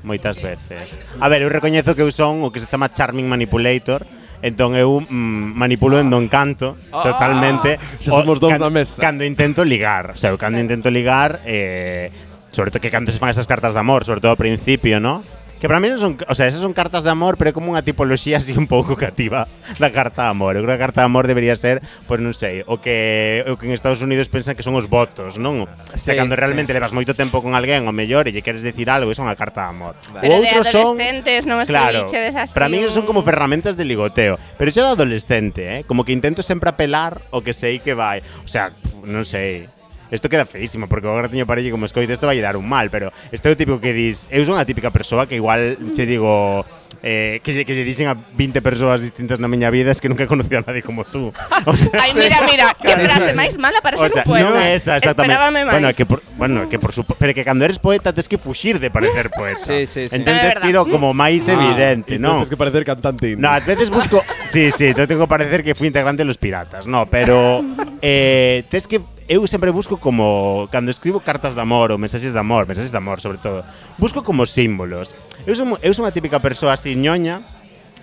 E: Moitas veces. A ver, eu recoñezo que eu son o que se chama Charming Manipulator, entón eu mm, manipulo en do encanto
D: Ah,
E: totalmente.
D: Xa somos dous na mesa.
E: Cando intento ligar, o sea, eu cando intento ligar, eh, sobre todo que cando se fan esas cartas de amor, sobre todo ao principio, ¿no? Que para mí non son, o sea, esas son cartas de amor, pero é como unha tipoloxía así un pouco cativa da carta de amor. Eu creo que a carta de amor debería ser, pois pues, non sei, o que o que en Estados Unidos pensan que son os votos, non? O sea,
C: Sí,
E: cando
C: sí.
E: realmente levas moito tempo con alguén, o mellor, e lle queres decir algo, iso é unha carta de amor.
B: Pero
E: O
B: de
E: outro
B: adolescentes, non
E: claro,
B: escribichedes así mm.
E: Para mí son
B: un-
E: como ferramentas de ligoteo. Pero yo de adolescente, eh, como que intento sempre apelar o que sei que vai. O sea, pf, non sei. Isto queda feísimo, porque agora teño parelle como escoito, isto vai dar un mal, pero este é o típico que dis, eu son a típica persoa que igual
B: Mm.
E: che digo eh, que, lle- que lle dixen a 20 persoas distintas na miña vida es que nunca conocí a nadie como tú. O sea,
B: Ai, mira, mira, que
E: Claro,
B: frase
E: sí.
B: máis mala para ser
E: o sea,
B: un poema.
E: non é esa exactamente.
B: Esperábame máis.
E: Bueno, que por, bueno, que por supuesto, pero que cando eres poeta tes que fuxir de parecer poeta.
C: Sí, sí, sí.
E: Entón
B: É
E: tes
B: verdad. Ah.
E: que ir ao como máis evidente,
D: Ah, entonces
E: non?
D: Tienes que parecer cantante indie.
E: No, a veces busco. Sí, sí, te tengo que parecer que fui integrante de los piratas, no, pero. Eh, es que. Eu sempre busco como cando escribo cartas de amor ou mensaxes de amor, mensaxes de amor sobre todo, busco como símbolos. Eu son, eu son a típica persoa así ñoña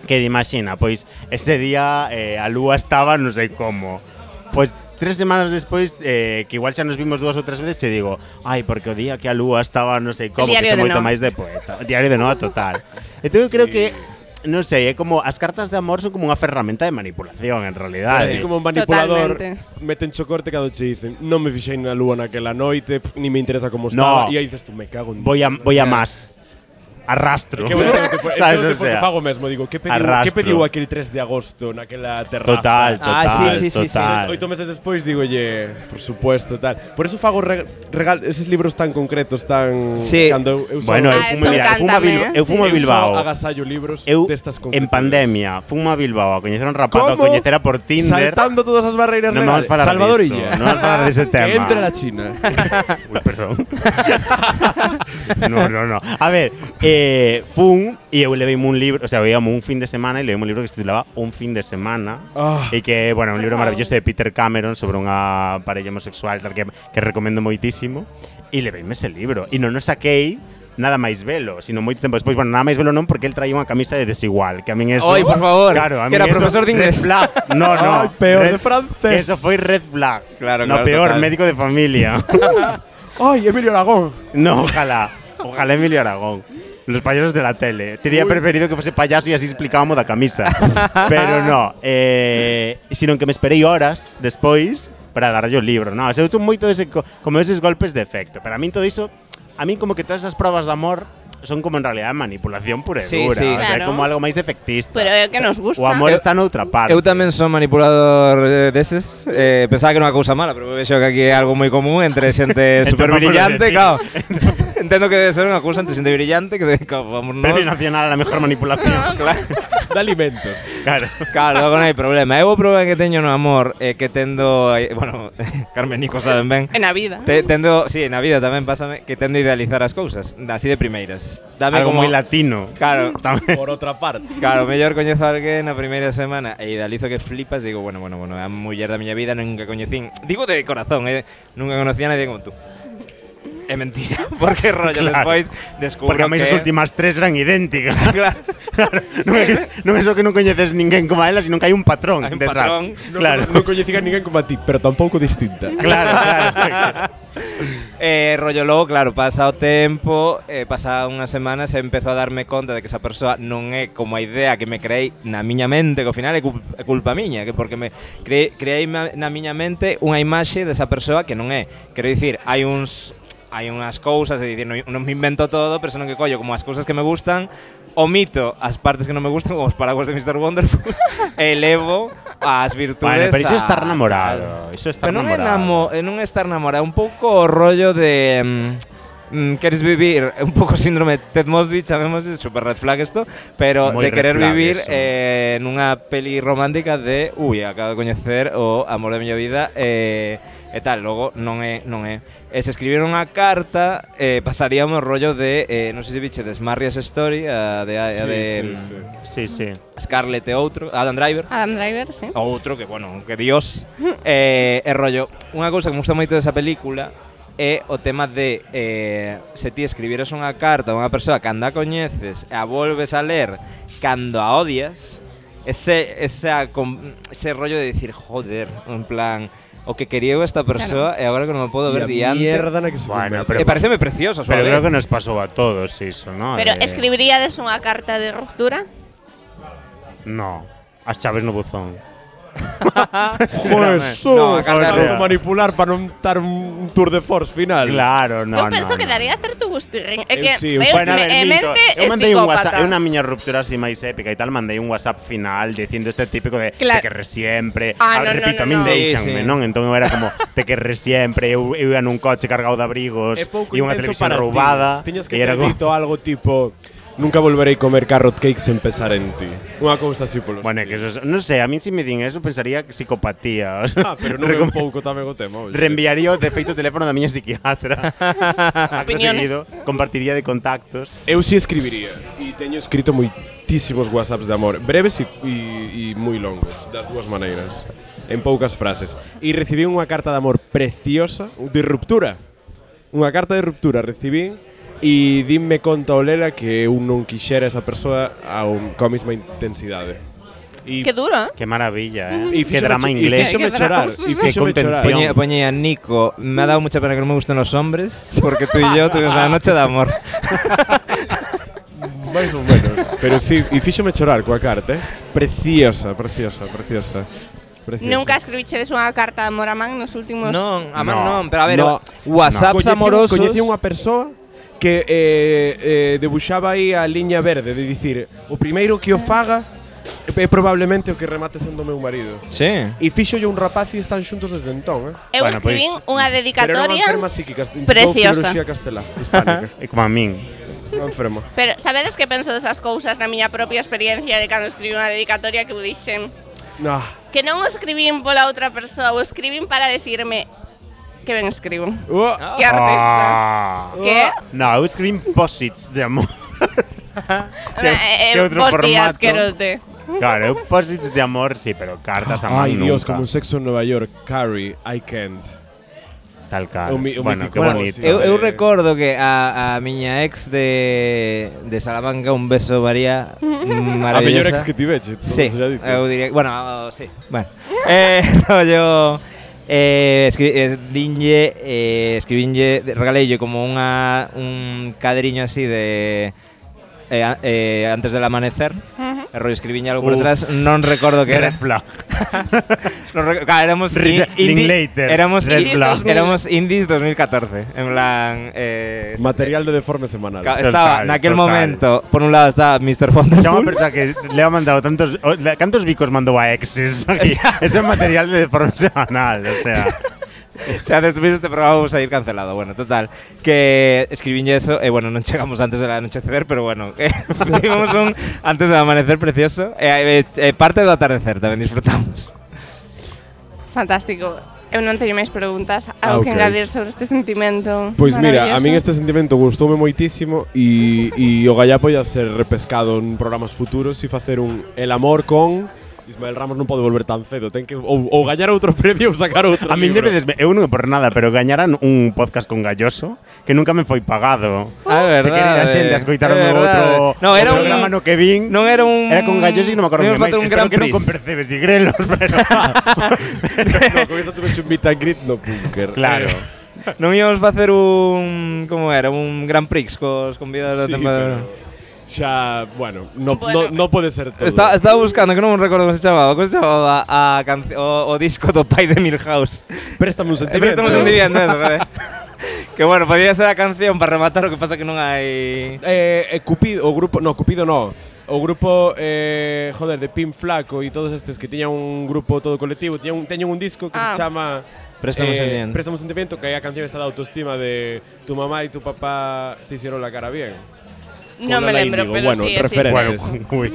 E: que di, imagina, pois ese día eh, a lúa estaba non sei como. Pois tres semanas despois eh, que igual xa nos vimos dúas ou tres veces e digo, ai, porque o día que a lúa estaba non sei como, que
B: diario
E: xa
B: de
E: moito
B: Noa.
E: máis de poeta. O diario de Noa total. Entón eu creo que non sei, é como as cartas de amor son como unha ferramenta de manipulación en eh.
D: Ah,
E: realidade.
D: ti como manipulador
B: Totalmente.
D: meten chocorte cando che dicen non me fixei na lúa naquela noite, pff, ni me interesa como estaba,
E: No.
D: e aí dices tú me cago en
E: Voy a voy a más. Arrastro.
D: eh, Que bueno,
E: Sabes,
D: sabes,
E: o
D: o porque
E: sea,
D: fago mesmo, digo, que pediu,
E: Arrastro.
D: que pediu aquel 3 de agosto naquela terraza?
E: total, total,
C: Ah, sí, sí, sí, sí.
E: total.
D: Oito meses despois digolle, por supuesto, tal. Por eso fago re- regal esos libros tan concretos, tan
C: Sí.
D: cando eu
E: Bueno, eu
B: Ah,
E: fumo,
B: eso
E: mira, eu fumo a
B: cántame,
E: Bilbao,
B: eh.
E: eu fumo a
D: eu só
E: Bilbao.
D: agasallo libros
E: Eu
D: destas
E: en
D: concretas.
E: pandemia fumo a Bilbao a coñecer a un rapaz, a
D: Como?
E: coñecer a por Tinder.
D: Saltando todas as barreiras
E: Non
D: legales.
E: vamos a falar
D: Salvador
E: diso,
D: Illa.
E: non vamos a falar dese tema.
D: Que entre na China.
E: Uy, perdón. no, no, no. A ver, eh, fun e eu leveime un libro, o sea, veíamos un fin de semana e leveime un libro que se titulaba Un fin de semana.
D: Ah.
E: E que, bueno, un libro maravilloso de Peter Cameron sobre unha parella homosexual tal, que, que recomendo moitísimo. E leveime ese libro. E non o saquei nada máis velo, sino moito tempo despois. Bueno, nada máis velo non porque el traía unha camisa de desigual, que a min eso...
C: Oi, por favor,
E: Claro, a
C: que
E: min
C: era
E: eso-
C: profesor de
E: red
C: inglés.
E: flag. No, no.
D: Ay, peor,
E: red-
D: de francés.
E: que Eso foi red flag.
C: Claro,
E: No,
C: claro,
E: peor,
C: total.
E: médico de familia.
D: Ay, Emilio Aragón.
E: No, ojalá. Ojalá Emilio Aragón. Los payasos de la tele. Tenía preferido que fuese payaso y así explicábamos la camisa. Pero no. Eh, sino que me esperei horas despois para dar yo el libro. No, se usan moito ese, co- como esos golpes de efecto. Pero a mí todo eso, a mí como que todas esas pruebas de amor son como en realidad manipulación pura y
C: Sí,
E: dura.
C: sí.
E: O sea,
B: Claro.
E: como algo máis efectista.
B: Pero é o que nos gusta.
E: o amor
C: Eu-
E: está en outra parte.
C: Eu tamén son manipulador eh, deses eh, Pensaba que era unha cousa mala Pero vexo que aquí é algo moi común Entre xente
E: Entre
C: super brillante
E: popular
C: Claro Entendo que debe ser unha cousa entre xente brillante Que de, como, vamos
E: Entón Premio
C: nós
E: Nacional a la Mejor Manipulación.
C: Claro
D: De alimentos.
E: claro.
C: Claro, logo non hai problema. Eu o problema que teño no amor é que tendo, eh, bueno, Carmen Nico saben ben.
B: En a vida.
C: Te, tendo, si, sí, na vida tamén pásame que tendo a idealizar as cousas, así de primeiras. Dame
E: Algo
C: como
E: moi latino.
C: Claro.
E: Tamén.
D: Por outra parte.
C: Claro, mellor coñezo a alguén na primeira semana e idealizo que flipas, digo, bueno, bueno, bueno, é a muller da miña vida nunca coñecín. Digo de corazón, eh, nunca conocía a nadie como tú. É mentira, porque rollo
E: Claro.
C: despois descubro
E: Porque a mí
C: que
E: as últimas tres eran idénticas.
C: Claro.
E: non, é, non é só que non coñeces ninguén como a ela, sino que hai un patrón
C: Hai un
E: detrás.
C: patrón.
D: No,
E: claro.
D: Non coñecín a ninguén como a ti, pero tampouco distinta.
E: claro, claro.
C: Eh, rollo logo, claro, pasa o tempo, eh, pasa unhas semanas e empezo a darme conta de que esa persoa non é como a idea que me creei na miña mente, que ao final é, cul é culpa miña, que porque me cre creei ma- na miña mente unha imaxe desa persoa que non é. Quero dicir, hai uns hai unhas cousas, é dicir, non, non me invento todo, pero senón que collo como as cousas que me gustan, omito as partes que non me gustan, como os paraguas de Mr. Wonderful, e elevo as virtudes
E: Bueno, pero iso é
C: a-
E: estar namorado. Iso é estar
C: Pero non é,
E: namorado.
C: namo, eh, non é estar namorado, é un pouco o rollo de... mm, Mm, queres vivir é un pouco síndrome de Ted Mosby, chamemos de super red flag isto, pero
E: Moi
C: de
E: red
C: querer
E: flag
C: vivir
E: eso.
C: eh, nunha peli romántica de ui, acabo de coñecer o amor da miña vida eh, e tal, logo non é, non é. E se escribir unha carta eh, pasaríamos rollo de, eh, non sei se biche, de Smarries Story, a de, a,
D: Sí,
C: de
D: sí, sí.
C: mm,
E: Sí, sí.
C: Scarlett e outro, Adam Driver.
B: Adam Driver, sí.
C: O outro que, bueno, que Dios eh, É rollo Unha cousa que me gusta moito desa película É o tema de eh, Se ti escribiras unha carta a unha persoa Cando a coñeces e a volves a ler Cando a odias Ese, esa, com- ese rollo de decir Joder, en plan O que quería eu a esta persoa E agora que non me podo ver
D: E a
C: diante
D: mierda na que se
E: Bueno,
C: E
D: converte.
E: pero-
C: pareceme precioso a súa
E: Pero
C: vez.
E: creo que nos pasou a todos iso, ¿no?
B: Pero
E: De-
B: escribiríades unha carta de ruptura?
E: No. As chaves no buzón. pues,
D: Jesús,
C: No, acá
E: está
D: Tanto
E: roto.
D: manipular para non dar un tour de force final.
E: Claro, no,
B: eu
E: no,
B: penso
E: no.
B: que daría certo gusto. ir. É
D: Eu
B: que
D: sí,
B: eu,
D: eu-
E: Bueno, a ver,
B: me- e
E: Minto,
B: mente
E: eu
B: é
E: mandei un WhatsApp,
B: psicópata.
E: una miña ruptura así máis épica y tal, mandei un WhatsApp final dicindo este típico de
B: Claro.
E: te querré siempre.
B: Ah,
E: A-
B: no, no,
E: repito,
B: no,
E: a min
B: no.
E: deixanme,
C: Sí, sí.
E: non? Entón eu era como te querré siempre, eu, eu ia nun coche cargado de abrigos
D: É pouco
E: e unha
D: intenso
E: televisión
D: para ti.
E: roubada.
D: Tiñas que
E: e era
D: ter
E: como,
D: dito algo tipo Nunca volverei comer carrot cake sen pensar en ti. Unha cousa así polo
E: Bueno, é que
D: estilo.
E: eso, non sei, a min si me din eso pensaría que psicopatía. o
D: Ah,
E: sea,
D: pero non é un pouco tamén o tema. oxe.
E: Reenviaría o defeito teléfono da miña psiquiatra. Acto
B: Opiniones.
E: seguido, compartiría de contactos.
D: Eu si escribiría e teño escrito moitísimos whatsapps de amor, breves e, e, e moi longos, das dúas maneiras, en poucas frases. E recibí unha carta de amor preciosa, de ruptura. Unha carta de ruptura recibí e dinme conta o Lela que eu non quixera esa persoa ao, coa mesma intensidade. E
B: Que duro, eh?
E: Qué maravilla,
D: E
E: eh? Qué
D: E
E: drama inglés.
B: Que
D: fíxome
B: drama.
D: chorar. E fíxome
E: Que
D: chorar.
C: Poñe,
E: contención.
C: poñe a Nico, me ha dado mucha pena que no me gusten los hombres, porque tú y yo tuvimos una noche de amor.
D: Máis ou menos. Pero sí, e fíxome chorar coa carta, eh? Preciosa, preciosa, preciosa. preciosa.
B: Nunca escribichedes unha carta de amor a man nos últimos...
C: No, a
E: No,
C: no, pero a ver,
D: no,
C: WhatsApps
D: Coñecí un-
C: amorosos.
D: Coñecí unha persoa que eh, eh, debuxaba aí a liña verde de dicir o primeiro que o faga é probablemente o que remate sendo meu marido.
C: Sí.
D: E fixo un rapaz e están xuntos desde entón, eh?
B: Eu
E: Bueno,
B: escribín unha
E: pois,
D: Pero era unha
B: dedicatoria...
D: enferma psíquica, intentó
B: preciosa.
D: Cirurxía castelá, hispánica.
E: É como a min.
D: unha enferma.
B: Pero sabedes que penso desas cousas na miña propia experiencia de cando escribí unha dedicatoria que eu dixen
C: Ah.
D: No.
B: que non o escribín pola outra persoa, o escribín para decirme que ben escribo.
D: Uh,
B: Que artista.
E: Ah.
B: Que? eh,
E: No, eu escribín posits de amor. Que-
B: Eh,
E: que outro
B: vos
E: formato.
B: días, querote.
E: Claro, eu posits de amor, sí, pero cartas a mano
D: Ay,
E: nunca.
D: Dios, como un sexo en Nueva York. Carrie, I can't.
E: Tal cal.
D: un mi- un
E: bueno,
D: mítico
E: que
D: amor,
E: bonito.
D: sí.
C: Eu, eu
D: Eh.
C: recordo que a, a miña ex de, de Salamanca un beso varía maravillosa.
D: A mellor ex que tiveche. todo
C: Sí,
D: se xa dito.
C: eu diría, bueno, oh, sí, bueno. Eh, rollo eh, escri, eh, dinlle, eh, escribinlle, regaleille como unha, un cadriño así de eh, a- eh, antes del amanecer.
B: Ujú.
C: E rollo escribinlle algo por
E: Uf.
C: detrás, non recordo que era.
E: Red flag.
C: No rec- claro, éramos
E: Ri-
C: i- indie-
E: Linklater,
C: éramos
E: Red
C: indies,
E: Flag.
C: éramos indies 2014, en plan eh,
D: Material de deforme semanal.
C: Ca-
E: Total,
C: estaba en aquel
E: total.
C: momento, por un lado estaba Mr. Fontes
E: Chama
C: Pool,
E: pensa que le ha mandado tantos o- le- cantos bicos mandou a exes aquí. Ese material de forma semanal, o sea,
C: se hace despois este programa vamos a ir cancelado. Bueno, total, que escribín eso, e bueno, non chegamos antes del anochecer, pero bueno, que escribimos un antes del amanecer precioso, e, e, e parte do atardecer tamén disfrutamos.
B: Fantástico. Eu non teño máis preguntas,
D: Ah,
B: algo que
D: ok.
B: engadir sobre este sentimento.
D: Pois mira, a min
B: maravilloso.
D: este sentimento gustoume moitísimo e, e o Gallá poida ser repescado en programas futuros e facer un El amor con Ismael Ramos non pode volver tan cedo, ten que ou, ou gañar outro premio ou sacar outro.
E: a min
D: libro.
E: debedes eu non por nada, pero gañaran un podcast con Galloso que nunca me foi pagado.
C: Ah, é
E: Se queren a
C: verdade,
E: xente a escoitar
C: é
E: o meu
C: verdade.
E: outro
C: No, era
E: o
C: un-
E: programa no que vin.
C: Non era un
E: Era con Galloso e non me acordo
C: Era
E: que máis.
C: un
E: Espero
C: gran
E: que non
C: prix.
E: con percebes e grelos, pero
D: no, con iso tuve un meet and greet no bunker.
E: claro.
D: Eh,
C: Non íamos facer un como era, un gran prix cos convidados da
D: sí,
C: temporada.
D: pero xa, bueno, no,
B: Bueno.
D: no, no pode ser todo.
C: Está, estaba buscando, que non me recordo como se chamaba, como se chamaba a canc- o, o disco do pai de Milhouse.
D: Préstame un
C: Eh, pero
D: sentimento.
C: estamos entendiendo eso, joder. Que bueno, podía ser a canción para rematar, o que pasa que non hai...
D: Eh, eh, Cupido, o grupo, no, Cupido no. O grupo, eh, joder, de Pin Flaco e todos estes que tiñan un grupo todo colectivo, tiñan un, teñen un disco que
B: Ah.
D: se eh, chama
C: Préstamo un sentimiento.
D: Préstamo un sentimiento, que aí a canción está da autoestima de tu mamá e tu papá te hicieron la cara bien.
B: Non me
D: Lola
B: lembro,
D: Índigo.
B: pero
D: Bueno,
B: sí, existe.
E: Bueno,
D: referentes.
E: ui.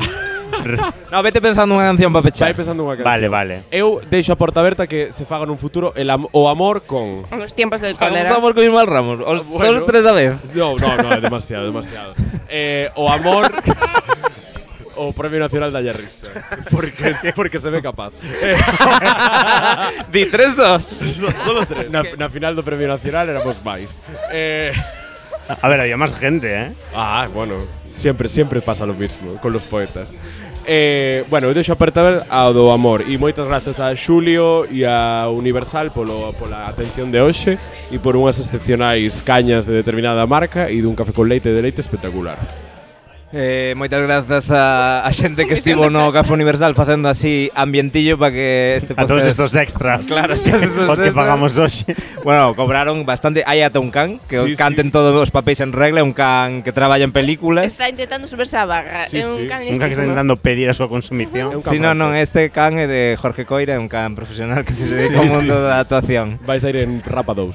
C: No, vete pensando unha canción para
D: Vai
C: pechar.
D: pensando unha canción.
E: Vale, vale.
D: Eu deixo a porta aberta que se faga nun futuro el am o amor con...
B: Os tiempos del
C: Vamos
B: cólera.
C: a por con Ismael Ramos, os
D: Ah, Bueno.
C: dos tres a vez.
D: No, no, no, é demasiado, demasiado. Eh, o amor... o Premio Nacional da Risa. Porque, porque se ve capaz.
C: Di tres, dos.
D: Solo tres. Na, na final do Premio Nacional éramos máis. Eh,
E: A ver, había más gente, ¿eh?
D: ah, bueno, siempre, siempre pasa lo mismo con los poetas. Eh, bueno, eu deixo apertar ao do amor e moitas grazas a Xulio e a Universal polo, pola atención de hoxe e por unhas excepcionais cañas de determinada marca e dun café con leite de leite espectacular.
C: Eh, moitas grazas a, a xente que estivo no Café Universal facendo así ambientillo para que este
E: A todos
C: podcast...
E: estos extras.
C: Claro, estos
E: Os
C: extras.
E: que pagamos hoxe.
C: Bueno, cobraron bastante. Hai ata un can que
D: Sí,
C: sí,
D: sí.
C: canten sí. todos os papéis en regla, un can que traballa en películas.
B: Está intentando superse a vaga. é
D: Sí,
B: un
D: sí.
B: can
E: Nunca que
B: listísimo.
E: están intentando pedir a súa consumición.
D: Eu-
C: Si, sí, non, non,
D: francés.
C: este can é de Jorge Coira, é un can profesional que se dedica
D: Sí,
C: ao
D: sí,
C: mundo
D: sí.
C: da actuación.
D: Vais a ir en Rapa 2.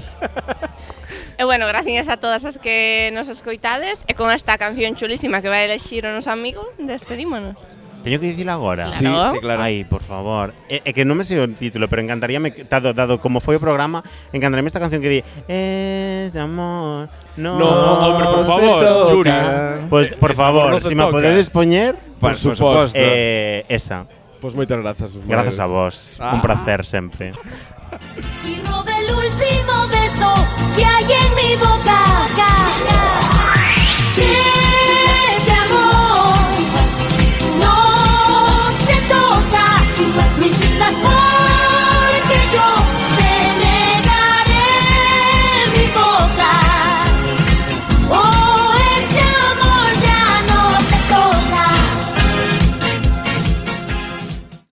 B: E bueno, gracias a todas as que nos escoitades e con esta canción chulísima que vai elexir o noso amigo, despedímonos.
E: Teño que dicilo agora.
C: Sí,
B: Claro.
C: sí, claro.
E: Ai, por favor. É, é que non me sei o título, pero encantaríame, que- dado, dado como foi o programa, encantaríame esta canción que di Es de amor, no,
D: No, hombre, por
E: se
D: favor,
E: toca".
D: Yuri.
E: Pues, por
D: Ese amor
E: favor,
D: no se
E: si me
D: toca.
E: podedes poñer,
D: Por
C: Pues, por
D: suposto.
C: suposto.
E: eh, esa.
D: Pois moitas grazas.
E: Gracias a vos.
D: Ah.
E: Un placer sempre.
F: Y roba el último